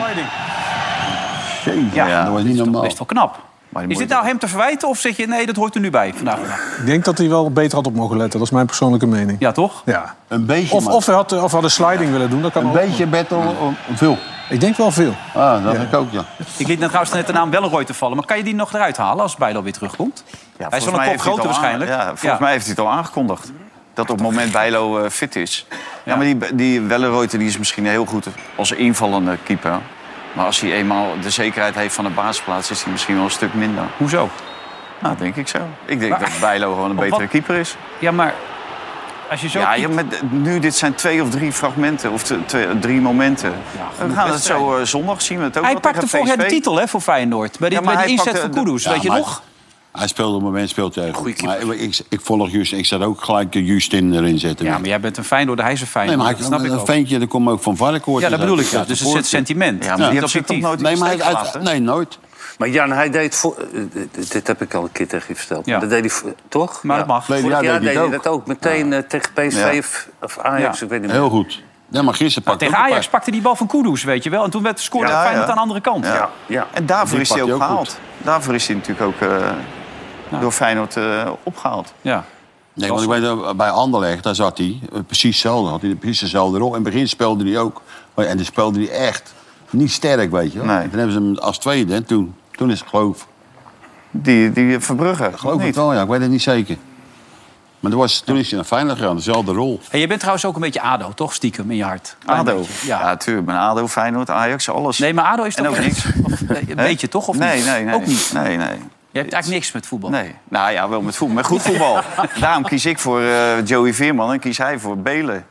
S4: Jezus,
S2: Ja.
S4: dat was niet normaal.
S2: Best wel knap.
S8: Maar die
S2: Is dit
S8: moet-
S2: nou hem te verwijten of zeg je... nee, dat hoort er nu bij vandaag.
S10: Ik denk dat hij wel beter had op mogen letten. Dat is mijn persoonlijke mening.
S2: Ja, toch?
S10: Ja.
S4: Een beetje,
S10: Of,
S4: man.
S10: of, hij had, of hij had een sliding willen doen. Dat kan
S4: Een
S10: ook.
S4: beetje battle, om- om veel.
S10: Ik denk wel veel.
S4: Ah, dat heb ik ook, ja.
S2: Ik liet net trouwens net de naam Belleroy te vallen. Maar kan je die nog eruit halen als Bijlo weer terugkomt? hij is
S8: Volgens
S2: wel een
S8: mij
S2: kop
S8: heeft hij
S2: groter
S8: het al aan-
S2: waarschijnlijk.
S8: Ja, volgens mij heeft hij het al aangekondigd. Dat op het moment Bijlo eh, fit is. Ja, maar die, die Welleroyte die is misschien heel goed als invallende keeper. Maar als hij eenmaal de zekerheid heeft van de basisplaats... is hij misschien wel een stuk minder.
S2: Hoezo?
S8: Nou, denk ik zo. Ik denk
S2: Maar-
S8: dat Bijlo gewoon een
S2: Op
S8: betere
S2: wat-
S8: keeper is.
S2: Ja, maar als je zo...
S8: Ja,
S2: Ja,
S8: ja, maar d- nu dit zijn twee of drie fragmenten. Of t- twee- drie momenten. We gaan het zo eh, zondag zien. We het ook
S2: Hij
S8: wel tegen
S2: pakte vorig jaar de
S8: PSV.
S2: titel hè, voor Feyenoord. Bij, die,
S8: Ja, maar
S2: bij de
S8: hij
S2: inzet
S8: pakte
S2: van
S8: de-
S2: Kudus,
S4: Ja,
S2: weet je
S4: maar-
S2: nog?
S4: Hij speelde op het moment speelt hij
S5: Goeie
S4: goed. Maar
S5: keeper.
S4: ik, ik volg Justin. Ik zat ook gelijk eh, Justin erin zetten.
S2: Ja, maar jij bent een Feyenoorder, hij is een
S4: nee,
S2: Feyenoorder.
S4: maar
S2: dat snap
S4: hij,
S2: ik
S4: dat
S2: ook.
S4: ventje dat komt ook van Varkenoord.
S2: Ja, dat bedoel ik dus.
S4: Ja,
S2: Dus er
S4: voor-
S2: zit sentiment.
S8: Ja, maar die
S2: Niet
S8: hebt zich toch
S2: objectief.
S8: nooit in
S4: Nee,
S8: de
S4: maar hij,
S8: steek
S4: uit-
S8: gelaten?
S4: nee, nooit.
S5: Maar Jan, hij deed voor, eh, dit- dit heb ik al een keer tegen je verteld.
S2: Ja.
S5: Dat deed hij voor- toch?
S2: Maar dat mag.
S5: Vorig
S4: Verleden
S5: jaar
S4: jaar
S5: deed
S4: deed
S5: hij
S4: hij
S5: dat ook. Meteen eh, tegen PSV of- of Ajax,
S2: Ja.
S5: ik weet niet meer.
S4: Heel goed. Ja, maar gisteren pakte
S2: Nou, Tegen
S4: hij ook een
S2: Ajax
S4: paar.
S2: pakte die bal van Kudus, weet je wel. En toen werd scoorde
S8: Ja,
S2: Feyenoord
S8: ja.
S2: aan de andere kant.
S8: Ja.
S5: Ja.
S8: En daarvoor
S4: Die
S8: is hij
S4: pakt
S8: ook
S4: hij ook
S8: gehaald. Daarvoor is hij natuurlijk ook eh, door Feyenoord eh, opgehaald.
S2: Ja.
S4: Nee, want ik weet, dat bij Anderlecht, daar zat hij eh, precies hetzelfde. Had hij precies dezelfde rol. In het begin speelde hij ook. Maar, en toen speelde hij echt niet sterk, weet je wel.
S8: Nee.
S4: En Toen hebben ze hem als tweede. En toen, toen is het geloof.
S8: Die, die Verbrugge.
S4: Geloof
S8: of
S4: ik
S8: niet?
S4: wel, ja. Ik weet het niet zeker. Maar toen, was, toen is hij naar Feyenoord gegaan. Dezelfde rol.
S2: En je bent trouwens ook een beetje ADO, toch? Stiekem in je hart. Klein
S8: ADO.
S2: beetje,
S8: Ja.
S2: Ja.
S8: tuurlijk. Mijn ADO, Feyenoord, Ajax, alles.
S2: Nee, maar ADO is
S8: En
S2: toch
S8: ook
S2: echt-
S8: niks.
S2: Of, eh, een
S8: Hè?
S2: beetje, toch? Of
S8: nee,
S2: niet?
S8: Nee, nee.
S2: Ook niet.
S8: Nee, nee.
S2: Je hebt eigenlijk niks met voetbal.
S8: Nee. Nou ja, wel met voetbal. Met goed voetbal. Daarom kies ik voor eh, Joey Veerman en kies hij voor Belen.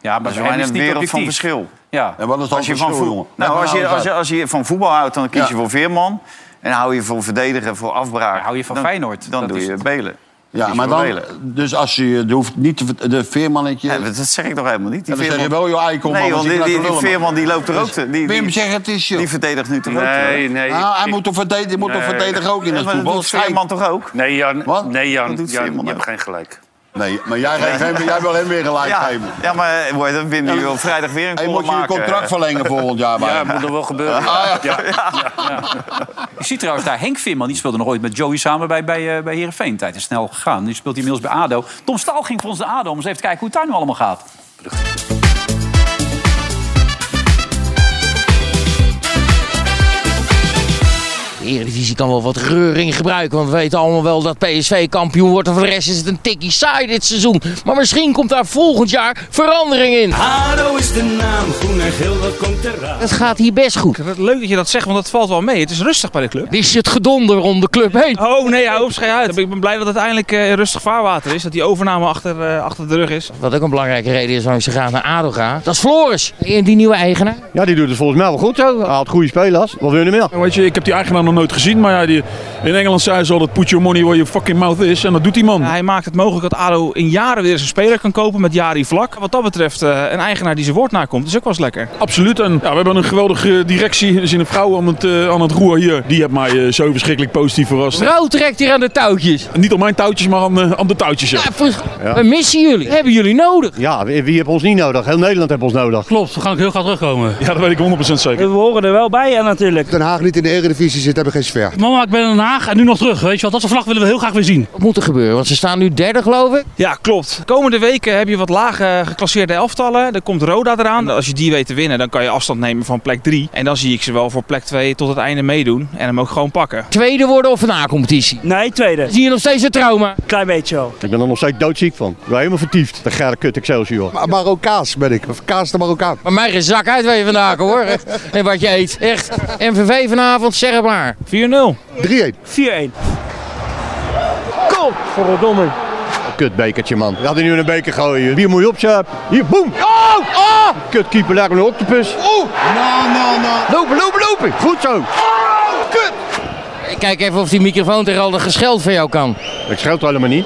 S2: Ja,
S8: Dat
S2: maar
S8: is
S2: bij hem
S8: een
S2: is
S8: wereld
S2: het niet
S8: van
S2: objectief.
S8: verschil.
S2: Ja.
S4: En wat is dan
S8: Als
S4: verschil,
S8: je, van voetbal,
S4: jongen?
S8: nou,
S4: Leg
S8: als,
S4: maar
S8: je,
S4: nou
S8: als,
S4: eens
S8: je, als je van voetbal houdt, dan kies
S4: Ja.
S8: je voor Veerman. En hou je voor verdedigen, voor afbraak.
S2: Ja, hou je van
S8: dan,
S2: Feyenoord.
S8: Dan
S2: Dat
S8: doe
S2: is
S8: je
S2: het.
S8: Belen.
S4: Ja,
S8: Kies
S4: maar
S8: voor
S4: dan,
S8: Belen.
S4: dus als je, je hoeft niet te ver- de veermannetje...
S8: Nee,
S4: en
S8: maar dat zeg ik toch helemaal niet. Die
S4: dan zeg je
S8: Veerman-
S4: wel, joh, eikel,
S8: Nee,
S4: man,
S8: want
S4: zit
S8: die,
S4: nou
S8: die,
S4: te
S8: die
S4: lullen, man.
S8: Veerman die loopt er ook te. Die,
S4: Wim,
S8: die,
S4: zeg het is, joh.
S8: die verdedigt nu toch ook
S5: Nee,
S8: te.
S5: nee.
S4: Nou, hij
S5: ik-
S4: moet toch verdedigen, moet toch
S5: Nee.
S4: verdedigen ook in
S8: Ja,
S4: het
S8: maar dat
S4: voetbal.
S8: doet Veerman toch ook?
S5: Nee, Jan,
S4: Wat?
S5: nee, Jan,
S8: Wat doet
S5: Jan
S8: Veerman
S5: je hebt
S8: ook?
S5: geen gelijk.
S4: Nee, maar jij, geeft hem, jij wil hem weer gelijk
S8: Ja,
S4: geven.
S8: ja maar eh, hoor, dan Wim die wil vrijdag weer een
S4: Hey,
S8: column
S4: moet je je
S8: maken.
S4: contract verlengen volgend jaar bij
S5: Ja,
S4: hem?
S5: dat moet er wel gebeuren.
S2: Je ziet trouwens daar Henk Veerman. Die speelde nog ooit met Joey samen bij, bij, eh, bij Heerenveen. Tijd is snel gegaan. Nu speelt hij inmiddels bij ADO. Tom Staal ging voor ons de ADO om eens even te kijken hoe het daar nu allemaal gaat.
S11: De Eredivisie kan wel wat reuring gebruiken. Want we weten allemaal wel dat PSV kampioen wordt. En voor de rest is het een tikkie saai dit seizoen. Maar misschien komt daar volgend jaar verandering in.
S12: ADO is de naam, groen en geel, dat komt eraan.
S11: Het gaat hier best goed.
S12: Leuk dat je dat zegt, want dat valt wel mee. Het is rustig bij de club.
S11: Dit is het gedonder om de club heen.
S12: Oh nee, hou op, schei uit. Ik ben blij dat het eindelijk eh, rustig vaarwater is. Dat die overname achter, eh, achter de rug is.
S11: Wat ook een belangrijke reden is waarom ze graag naar ADO gaan. Dat is Floris. En die nieuwe eigenaar.
S13: Ja, die doet het volgens mij wel goed zo. Hij had goede spelers. Wat wil je meer?
S14: Weet je, ik heb die eigenaar nog nooit gezien, maar ja, die, in Engeland zei ze altijd put your money where your fucking mouth is. En dat doet die man.
S12: Hij maakt het mogelijk dat ADO in jaren weer eens een speler kan kopen met Jari Vlak. Wat dat betreft, eh, een eigenaar die zijn woord nakomt, is ook wel eens lekker.
S14: Absoluut. En ja, we hebben een geweldige directie. Er zit een vrouw aan het, eh, aan het roer hier. Die heeft mij eh, zo verschrikkelijk positief verrast. Eh,
S11: Vrouw trekt hier aan de touwtjes.
S14: Niet aan mijn touwtjes, maar aan, eh, aan de touwtjes. Ja.
S11: Ja, voor- We missen jullie. Hebben jullie nodig.
S13: Ja, wie, wie heeft ons niet nodig? Heel Nederland heeft ons nodig.
S12: Klopt, we gaan ook heel graag terugkomen.
S14: ja, dat weet ik 100% zeker.
S12: horen er wel bij ja, natuurlijk.
S13: Den Haag niet in de Eredivisie zit, hebben geen sfeer.
S12: Mama, ik ben in Den Haag en nu nog terug. Weet je wat, dat soort vlag willen we heel graag weer zien.
S11: Wat moet er gebeuren? Want ze staan nu derde geloof ik.
S12: Ja, klopt. Komende weken heb je wat lage geclasseerde elftallen. Dan komt Roda eraan. Als je die weet te winnen, dan kan je afstand nemen van plek 3. En dan zie ik ze wel voor plek 2 tot het einde meedoen. En hem ook gewoon pakken.
S11: Tweede worden of een A-competitie.
S12: Nee, tweede.
S11: Zie je nog steeds een trauma?
S12: Klein beetje wel.
S13: Ik ben er nog steeds doodziek van. Ik ben helemaal vertiefd. De gare kut Excelsior. Maar Marokkaans ben ik. Of kaas de Marokkaan.
S11: Maar mij geen zak uit waar je vandaan komt, hoor. En wat je eet. Echt. MVV vanavond, zeg het maar.
S12: 4-0.
S13: 3-1.
S12: 4-1.
S13: Kutbekertje, man. Je had er nu in een beker gooien. Hier moet je op, Sjaap. Hier, boem. Oh! Oh! Kutkeeper daar met een octopus. Oeh! Nou, nou, nou. Lopen, lopen, lopen. Goed zo. Kut!
S11: Ik kijk even of die microfoon tegen al de gescheld van jou kan.
S13: Ik scheld helemaal niet.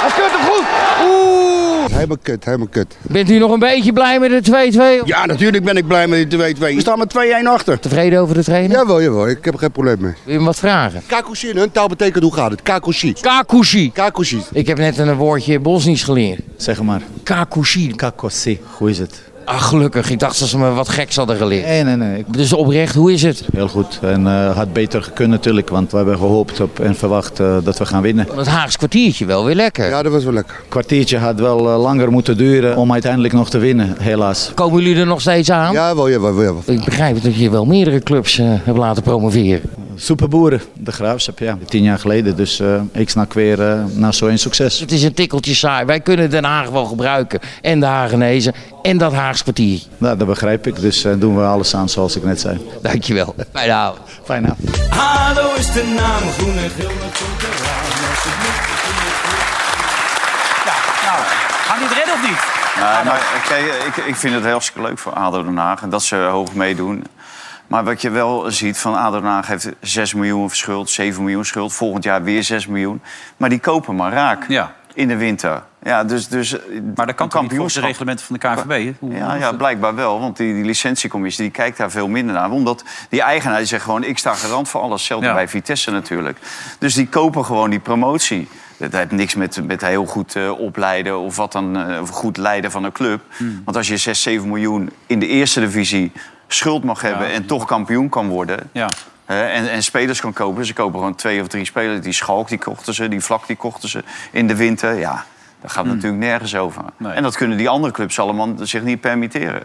S13: Hij kut hem goed. Oeh! Helemaal kut, helemaal kut.
S11: Bent u nog een beetje blij met de 2-2?
S13: Ja, natuurlijk ben ik blij met die 2-2. We staan met 2-1 achter.
S11: Tevreden over de trainer?
S13: Jawel, jawel, ik heb er geen probleem mee.
S11: Wil je hem wat vragen?
S13: Kakushi in hun taal betekent hoe gaat het? Kakushi.
S11: Kakushi.
S13: Kakushi.
S11: Ik heb net een woordje Bosnisch geleerd.
S13: Zeg maar.
S11: Kakushi.
S13: Kakushi. Hoe is het?
S11: Ach, Ah, gelukkig. Ik dacht dat ze me wat geks hadden geleerd.
S15: Nee, nee, nee.
S11: Dus oprecht, hoe is het?
S15: Heel goed. En eh, had beter gekund natuurlijk, want we hebben gehoopt op en verwacht eh, dat we gaan winnen.
S11: Het Haags kwartiertje wel weer lekker.
S15: Ja, dat was wel lekker. Kwartiertje had wel eh, langer moeten duren om uiteindelijk nog te winnen, helaas.
S11: Komen jullie er nog steeds aan?
S15: Jawel, jawel, jawel.
S11: Ik begrijp dat je wel meerdere clubs eh, hebt laten promoveren.
S15: Superboeren, de Graafschap, ja. Tien jaar geleden, dus eh, ik snak weer eh, naar zo'n succes.
S11: Het is een tikkeltje saai. Wij kunnen Den Haag wel gebruiken. En de Hagenezen. En dat Haags kwartier.
S15: Nou, dat begrijp ik, dus eh, doen we alles aan zoals ik net zei.
S11: Dankjewel. Fijne avond.
S15: Fijne avond.
S16: Ado is de naam, groen en geel, dat komt eraan. Als het moet,
S17: Nou, Gaan die het redden of niet?
S8: Ja, maar kijk, ik, ik vind het hartstikke leuk voor ADO Den Haag. En dat ze hoog meedoen. Maar wat je wel ziet van ADO Den Haag heeft 6 miljoen schuld, 7 miljoen schuld. Volgend jaar weer 6 miljoen. Maar die kopen maar raak in de winter. Ja, dus, dus, maar dat kan
S2: Volgens de reglementen van de KNVB. hè? Hoe-
S8: ja, ja, blijkbaar wel. Want die, die licentiecommissie die kijkt daar veel minder naar. Omdat die eigenaar die zegt gewoon... ik sta garant voor alles. Hetzelfde bij Vitesse natuurlijk. Dus die kopen gewoon die promotie. Dat heeft niks met, met heel goed eh, opleiden... of wat dan eh, of goed leiden van een club.
S2: Hmm.
S8: Want als je 6, 7 miljoen in de eerste divisie schuld mag hebben... en toch kampioen kan worden...
S2: Ja.
S8: Eh, en, en spelers kan kopen. Ze kopen gewoon twee of drie spelers. Die Schalk die kochten ze, die Vlak die kochten ze in de winter. Ja, daar gaat
S2: Hmm.
S8: het natuurlijk nergens over. En dat kunnen die andere clubs allemaal zich niet permitteren.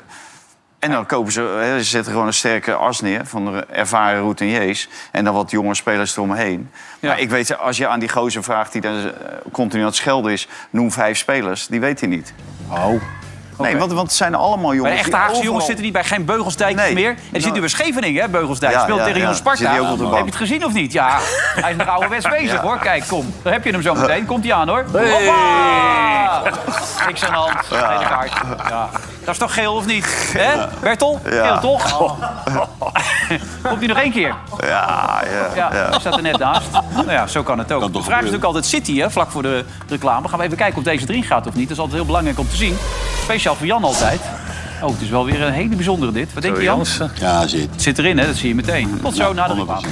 S8: En dan kopen ze, hè, ze zetten gewoon een sterke as neer van de ervaren routiniers. En dan wat jonge spelers eromheen. Maar ik weet, als je aan die gozer vraagt die dan eh, continu aan het schelden is... noem vijf spelers, die weet hij niet. Oh. Nee, want, want het zijn allemaal jongens
S2: Maar de echte
S8: die
S2: Haagse jongens
S8: overal- Nou.
S2: zitten niet bij geen Beugelsdijk meer. En die zit nu bij Scheveningen, hè, Beugelsdijk.
S8: Ja,
S2: Speelt
S8: ja,
S2: tegen
S8: ja.
S2: Jong Sparta.
S8: Zit hij ook op de bank?
S2: Heb je het gezien of niet? Ja, hij is nog ouderwets bezig
S8: Ja.
S2: hoor. Kijk, kom. Daar heb je hem zo meteen. Komt hij aan hoor.
S8: Hey.
S2: Hoppa! Niks aan de hand. Tweede kaart. Ja. Dat is toch geel of niet? Hè? Bertel?
S8: Ja.
S2: Geel toch? Komt hij nog één keer?
S8: Ja, ja,
S2: Ja,
S8: ja.
S2: staat er net naast. Nou ja, zo kan het ook. de vraag is
S8: gebeuren.
S2: natuurlijk altijd City, hè, vlak voor de reclame. Gaan we even kijken of deze erin gaat of niet. Dat is altijd heel belangrijk om te zien. Speciaal voor Jan altijd. Oh, het is wel weer een hele bijzondere dit. Wat denk je, Jan?
S4: Ja, zit.
S2: Het zit erin, hè? dat zie je meteen. Tot zo, na de reclame.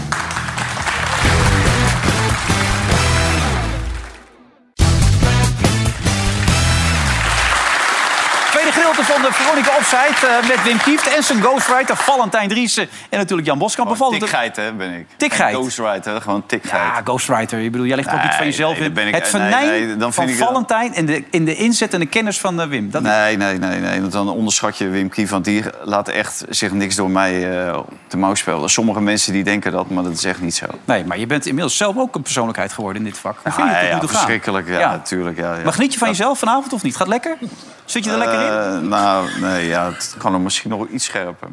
S2: Tweede gedeelte van de Veronica Offside eh, met Wim Kieft en zijn ghostwriter Valentijn Driessen. En natuurlijk Jan Boskamp.
S8: Gewoon
S2: Bevalt het-
S8: tikgeit, hè, ben ik.
S2: Tikgeit.
S8: En Ghostwriter, gewoon tikgeit.
S2: Ja, ghostwriter. Ik bedoel, jij legt ook niet van
S8: Nee,
S2: jezelf
S8: nee,
S2: in.
S8: dat ben ik-
S2: het
S8: nee,
S2: venijn
S8: nee, dan
S2: van
S8: vind ik dat-
S2: Valentijn en de, in de inzet en de kennis van eh, Wim. Dat
S8: Nee, nee, nee, nee. Want dan onderschat je Wim Kief. Want die laat echt zich niks door mij eh op de mouw spelen. Sommige mensen die denken dat, maar dat is echt niet zo.
S2: Nee, maar je bent inmiddels zelf ook een persoonlijkheid geworden in dit vak. Hoe vind je
S8: ja,
S2: het tot
S8: ja,
S2: nu toe gaan?
S8: verschrikkelijk. Ja,
S2: Ja.
S8: natuurlijk. Ja, ja.
S2: Maar geniet je van jezelf vanavond of niet? Gaat lekker? Zit je er lekker in?
S8: Eh, nou, nee, ja, het kan er misschien nog iets scherper.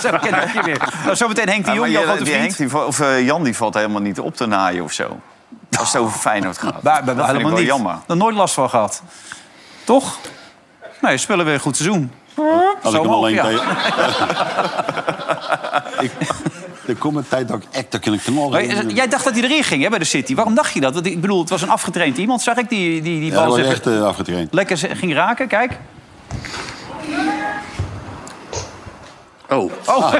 S2: Zo ken ik je weer. Nou, zometeen Henk de
S8: Ja, maar
S2: Jong, jouw
S8: je-
S2: grote
S8: die Henk,
S2: vriend.
S8: die va- of, eh, Jan die valt helemaal niet op te naaien of zo. Als het over Feyenoord gaat.
S2: Waar,
S8: dat
S2: bij-
S8: vind ik
S2: helemaal
S8: wel
S2: niet.
S8: jammer.
S2: Nog nooit last van gehad. Toch? Nee, spelen weer een goed seizoen.
S4: Als
S2: Zo
S4: ik hem
S2: hoog,
S4: alleen
S2: ja.
S4: tegen... ik, er komt een tijd dat ik echt dat kan ik hem al
S2: Maar is- jij dacht dat hij erin ging hè, bij de City. Waarom dacht je dat? Want ik bedoel, het was een afgetraind iemand, zag ik, die, die, die
S4: Ja,
S2: bal
S4: dat was
S2: even
S4: echt eh, afgetraind.
S2: lekker z- ging raken. Kijk.
S8: Oh.
S2: Oh.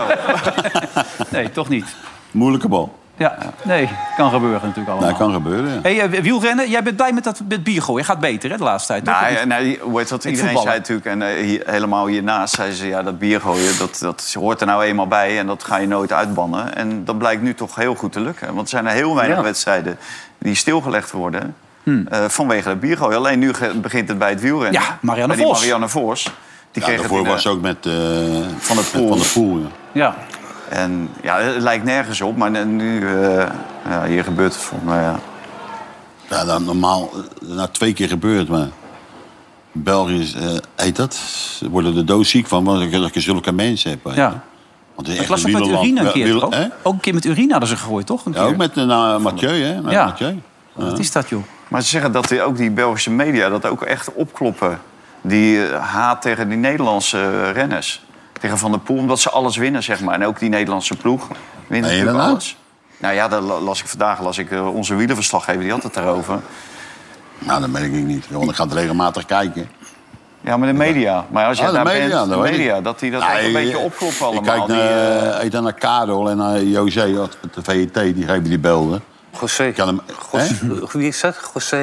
S2: nee, toch niet.
S4: Moeilijke bal. Nou,
S2: Ja, nee, kan gebeuren natuurlijk allemaal.
S4: Dat kan gebeuren, ja.
S2: Hey, eh, wielrennen, jij bent blij met dat met bier gooien. Gaat beter hè, de laatste tijd. toch?
S8: Nou, ja, nou, hoe heet dat?
S2: Het
S8: Iedereen zei
S2: voetballen.
S8: natuurlijk, en eh, hier- helemaal hiernaast zei ze... ja, dat bier gooien, dat, dat hoort er nou eenmaal bij en dat ga je nooit uitbannen. En dat blijkt nu toch heel goed te lukken. Want er zijn er heel weinig
S18: Ja.
S8: wedstrijden die stilgelegd worden... eh, vanwege dat bier gooien. Alleen nu ge- begint het bij het wielrennen.
S2: Hmm. Ja, Marianne
S8: Maar die
S2: Vos.
S8: Marianne Vos, die
S4: Ja,
S8: kreeg
S4: daarvoor
S8: het in,
S4: was
S8: eh,
S4: ze ook met eh, Van
S8: de
S4: Poel. Van de Poel, ja.
S2: Ja.
S8: En ja, het lijkt nergens op, maar nu... eh, ja, hier gebeurt het volgens mij, ja.
S4: Ja, dat normaal eh, nou, twee keer gebeurd, maar... België is, eh, heet dat? Ze worden er doodziek van, want dat je zulke mensen hebt. weet je.
S2: Ja.
S4: Want het is
S2: Ik
S4: echt
S2: las
S4: een
S2: ook met
S4: wielerland.
S2: urine een
S4: Ja,
S2: keer.
S4: wiel-
S2: toch?
S4: hè?
S2: Ook een keer met urine hadden ze gegooid, toch? Een
S4: Ja, ook
S2: keer.
S4: met eh, nou, Mathieu, hè? Met
S2: Ja.
S4: Mathieu.
S2: Wat is dat, joh?
S8: Maar ze zeggen dat die, ook die Belgische media dat ook echt opkloppen. Die eh, haat tegen die Nederlandse eh, renners. Tegen Van der Poel, omdat ze alles winnen, zeg maar. En ook die Nederlandse ploeg wint
S4: Meen je
S8: natuurlijk
S4: dat nou?
S8: alles. Nou ja, dat la- las ik vandaag las ik, eh, onze wielerverslaggever, die had het daarover.
S4: Nou, dat merk ik niet. Want ik ga het regelmatig kijken.
S8: Ja, maar de media. Maar als je
S4: Ah,
S8: daar bent,
S4: dat
S8: de
S4: weet ik.
S8: media, dat die dat
S4: Nee,
S8: echt een beetje
S4: ik-
S8: opkloppen allemaal.
S4: Ik kijk
S8: Die, eh,
S4: naar, ik denk naar Karel en naar José, de VET, die geven die beelden.
S5: José. Gos- Wie is dat? José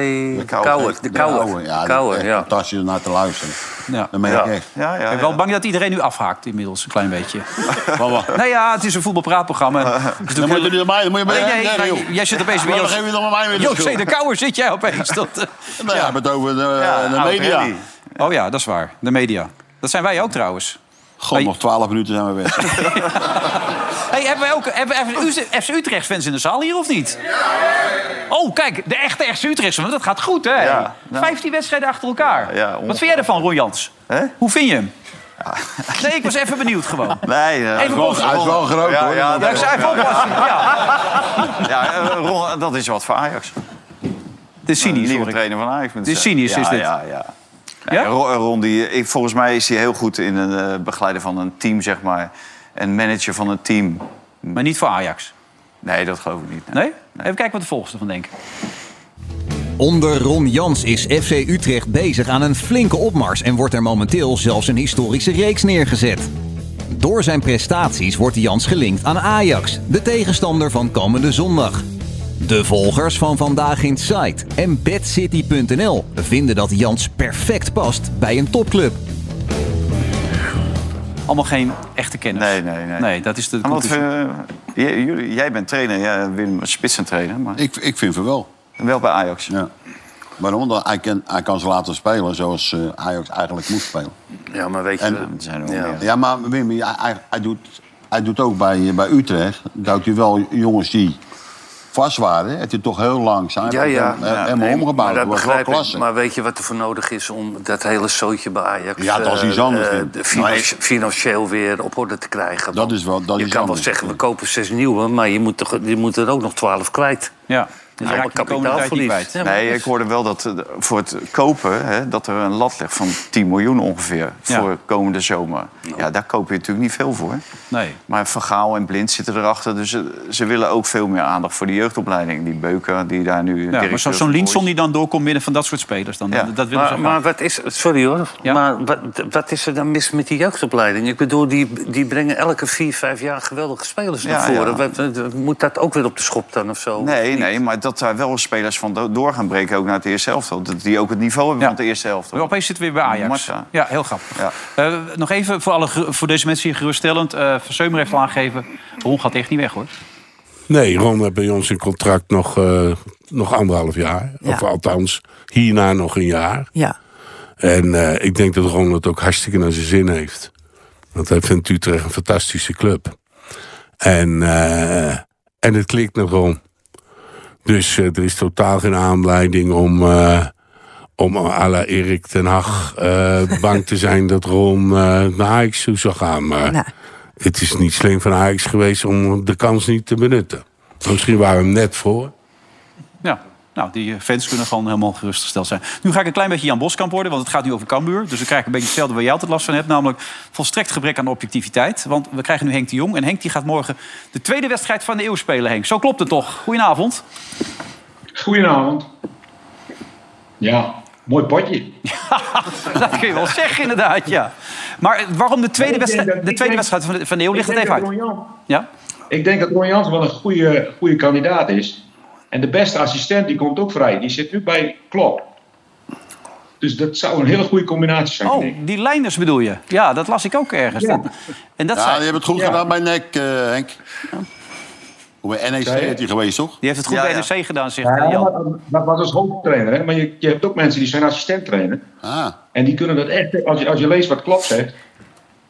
S5: Kouwer. De Kouwer.
S4: Ja,
S5: Kouwer,
S4: echt
S5: ja.
S4: fantastisch om naar te luisteren.
S2: Ja.
S4: Dat meen ik echt.
S2: ik ben wel bang dat iedereen nu afhaakt inmiddels, een klein beetje. nou ja, het is een voetbalpraatprogramma. Dus
S4: Dan moet je niet mij, dan moet je
S2: Nee,
S8: Oh,
S4: bij-
S2: nee,
S4: nee,
S2: nee,
S4: joh.
S2: jij zit opeens bij
S4: Waarom
S2: Jos-
S4: geef je dan maar mij weer de
S2: José
S4: schuld?
S2: de Kouwer zit jij opeens. Dat,
S4: Nou ja, we hebben het over de, de
S2: oud
S4: media.
S2: Reddy. Oh ja, dat is waar. De media. Dat zijn wij ook trouwens.
S4: God, nog 12 minuten zijn we weg.
S2: Hey, hebben wij ook hebben, we even FC Utrecht fans in de zaal hier of niet? Oh, kijk, de echte FC Utrecht want dat gaat goed, hè?
S8: Ja, nou.
S2: 15 wedstrijden achter elkaar.
S8: Ja,
S2: Wat vind jij ervan, Roy Jans? Hoe vind je hem? Nee, ik was even benieuwd gewoon.
S8: Nee, ja,
S2: Even
S8: Ron-
S2: op- Hij is wel groot,
S8: ja,
S2: hoor.
S8: Ja,
S2: Ja, ik zei even oppassen,
S8: Ja, eh, Ron, dat is wat voor Ajax.
S2: De cynisch,
S8: nieuwe
S2: hoor ik.
S8: Ah, trainer van Ajax. moet ik
S2: Dit is
S8: zeggen.
S2: cynisch,
S8: ja,
S2: is dit.
S8: Ja, ja. Nee, Ron, Ron die, ik, volgens mij is hij heel goed in het eh, begeleiden van een team, zeg maar. En manager van een team.
S2: Maar niet voor Ajax?
S8: Nee, dat geloof ik niet.
S2: Nee? Even kijken wat de volgers ervan denken.
S18: Onder Ron Jans is FC Utrecht bezig aan een flinke opmars en wordt er momenteel zelfs een historische reeks neergezet. Door zijn prestaties wordt Jans gelinkt aan Ajax, de tegenstander van komende zondag. De volgers van Vandaag in Sight en BadCity.nl vinden dat Jans perfect past bij een topclub.
S2: Allemaal geen echte kennis.
S8: Nee, nee, nee.
S2: Nee, dat is de
S8: En wat
S2: conclusie.
S8: voor- jij, jullie- jij bent trainer, ja, Willem, spitsentrainer. Maar...
S4: Ik, ik vind van wel.
S8: Wel bij Ajax?
S4: Ja. Waarom? Omdat hij kan, hij kan ze laten spelen zoals eh, Ajax eigenlijk moet spelen.
S5: Ja, maar weet je...
S4: En- ja. maar Wim, hij, hij- hij doet, hij doet ook bij, eh, bij Utrecht... dat hij wel jongens die vast waren... heeft hij toch heel lang zijn
S5: Ja, ja.
S4: en- en- en
S5: Nee,
S4: omgebouwd.
S5: maar
S4: Dat
S5: dat
S4: was wel
S5: begrijp ik.
S4: klasse.
S5: Maar weet je wat er voor nodig is om dat hele zootje bij Ajax...
S4: Ja, dat is iets
S5: eh,
S4: anders,
S5: eh,
S4: Wim.
S5: de finan-
S4: Nee.
S5: financieel weer op orde te krijgen.
S4: Dat is wel, dat
S5: je
S4: is
S5: kan wel
S4: anders.
S5: zeggen, we kopen zes nieuwe... maar je moet, toch, je moet er ook nog twaalf kwijt.
S2: Ja.
S5: Dus allemaal kapitaalverlies.
S8: Nee, ik hoorde wel dat eh, voor het kopen... Hè, dat er een lat ligt van 10 miljoen ongeveer
S2: Ja.
S8: voor komende zomer. Ja, daar koop je natuurlijk niet veel voor.
S2: Nee.
S8: Maar Van Gaal en Blind zitten erachter. Dus eh, ze willen ook veel meer aandacht voor de jeugdopleiding. Die Beuken, die daar nu...
S2: Ja, maar
S8: directeur
S2: zo- zo'n
S8: van
S2: Linson die dan doorkomt midden van dat soort spelers. Dan, dat willen ze
S5: maar,
S2: graag.
S5: maar wat is... Sorry hoor, maar wat, wat is er dan mis met die jeugdopleiding? Ik bedoel, die, die brengen elke vier, vijf jaar geweldige spelers
S8: Ja,
S5: naar voren.
S8: ja.
S5: Wat- wat- Moet dat ook weer op de schop dan of zo?
S8: Nee, nee, maar dat daar wel spelers van do- door gaan breken, ook naar het eerste helft. Dat die ook het niveau hebben van de eerste helft.
S2: Maar opeens zitten we weer bij Ajax.
S8: Marta.
S2: Ja, heel grappig. Eh, nog even voor, alle, ge- voor deze mensen hier geruststellend. eh Van Seumer heeft al aangegeven, Ron gaat echt niet weg hoor.
S19: Nee, Ron heeft bij ons een contract nog, eh, nog anderhalf jaar. Of althans, hierna nog een jaar.
S20: Ja.
S19: En eh, ik denk dat Ron het ook hartstikke naar zijn zin heeft. Want hij vindt Utrecht een fantastische club. En, eh, en het klikt nog Ron. Dus eh, er is totaal geen aanleiding om, eh, om à la Erik ten Hag eh, bang te zijn dat Ron eh, naar Ajax toe zou gaan. Maar het is niet slim van Ajax geweest om de kans niet te benutten. Misschien waren we hem net voor.
S2: Ja. Nou, die eh, fans kunnen gewoon helemaal gerustgesteld zijn. Nu ga ik een klein beetje Jan Boskamp worden, want het gaat nu over Cambuur. Dus we krijgen een beetje hetzelfde waar jij altijd last van hebt. Namelijk volstrekt gebrek aan objectiviteit. Want we krijgen nu Henk de Jong. En Henk die gaat morgen de tweede wedstrijd van de eeuw spelen, Henk. Zo klopt het toch? Goedenavond.
S21: Goedenavond. Ja, mooi potje.
S2: dat kun je wel zeggen, inderdaad, ja. Maar eh, waarom de tweede,
S21: Nee, ik denk
S2: wedstrijd,
S21: dat-
S2: de
S21: ik
S2: tweede
S21: denk-
S2: wedstrijd van de, van de eeuw?
S21: ik
S2: Ligt het
S21: denk
S2: even
S21: dat
S2: uit.
S21: Ron Jans-
S2: Ja?
S21: Ik denk dat Ron Jans wel een goede, goede kandidaat is. En de beste assistent die komt ook vrij. Die zit nu bij Klop. Dus dat zou een hele goede combinatie zijn.
S2: Oh, die lijners bedoel je? Ja, dat las ik ook ergens.
S21: Ja.
S2: Dat- en dat
S4: ja,
S2: zijn-
S4: die hebben het goed gedaan bij NEC, eh, Henk. Hoe bij NEC
S21: Zei je?
S4: heeft hij geweest, toch?
S2: Die heeft het goed
S21: Ja,
S2: bij
S21: ja.
S2: NEC gedaan, zegt
S21: Ja,
S2: eh, Jan.
S21: maar dat was als hoofdtrainer. Hè? Maar je, je hebt ook mensen die zijn assistent trainen.
S4: Ah.
S21: En die kunnen dat echt... Als je, als je leest wat Klop zegt,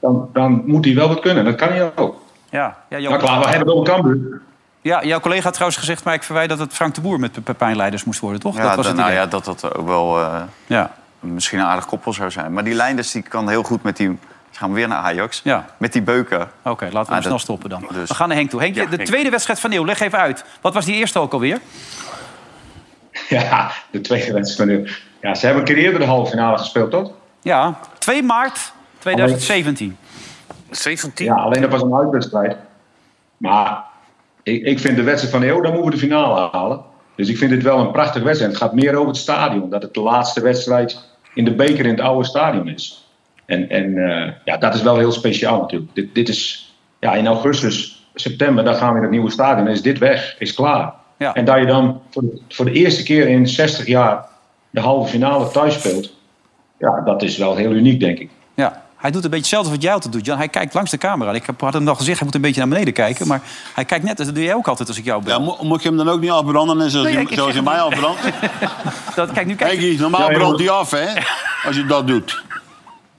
S21: dan, dan moet hij wel wat kunnen. Dat kan hij ook.
S2: Ja, ja, jouw-
S21: Nou, klaar, we hebben het over Cambuur.
S2: Ja, jouw collega had trouwens gezegd, maar ik verwijt dat het Frank de Boer met Pe- Pepijnleiders moest worden, toch?
S8: Ja,
S2: dat
S8: dan-
S2: was het
S8: nou
S2: idee.
S8: ja, dat dat ook wel eh,
S2: Ja.
S8: misschien een aardig koppel zou zijn. Maar die Leinders die kan heel goed met die... Ze gaan weer naar Ajax. Met die beuken. Oké,
S2: laten we hem snel stoppen dan. We gaan naar Henk toe. Henk,
S8: Ja,
S2: de
S8: Henk.
S2: tweede wedstrijd van Nieuw, leg even uit. Wat was die eerste ook alweer?
S21: Ja, Ah, de tweede wedstrijd. van de- Ja, ze hebben een keer eerder de halve finale gespeeld, toch?
S2: Ja, 2 maart 2017.
S5: 17?
S21: Ja, alleen dat was een uitwedstrijd. Maar ik, ik vind de wedstrijd van de eeuw, dan moeten we de finale halen. Dus ik vind dit wel een prachtige wedstrijd. Het gaat meer over het stadion. Dat het de laatste wedstrijd in de beker in het oude stadion is. En, en eh, ja, dat is wel heel speciaal natuurlijk. Dit, dit is ja, in augustus, september, dan gaan we in het nieuwe stadion. Dan is dit weg, is klaar.
S2: Ja.
S21: En dat je dan voor de, voor de eerste keer in 60 jaar de halve finale thuis speelt. Ja, dat is wel heel uniek, denk ik.
S2: Ja. Hij doet een beetje hetzelfde wat jij altijd doet, Jan. Hij kijkt langs de camera. Ik heb- had hem al gezegd, hij moet een beetje naar beneden kijken. Maar hij kijkt net, dat doe jij ook altijd als ik jou bel.
S4: Mo- Moet je hem dan ook niet afbranden, en zoals,
S2: Nee,
S4: hij-
S2: ik- ik
S4: zoals
S2: zeg
S4: hij mij
S2: het niet.
S4: afbrandt?
S2: dat, kijk, nu
S4: kijk normaal
S2: Ja, joh.
S4: brandt hij af, hè? Als je dat doet.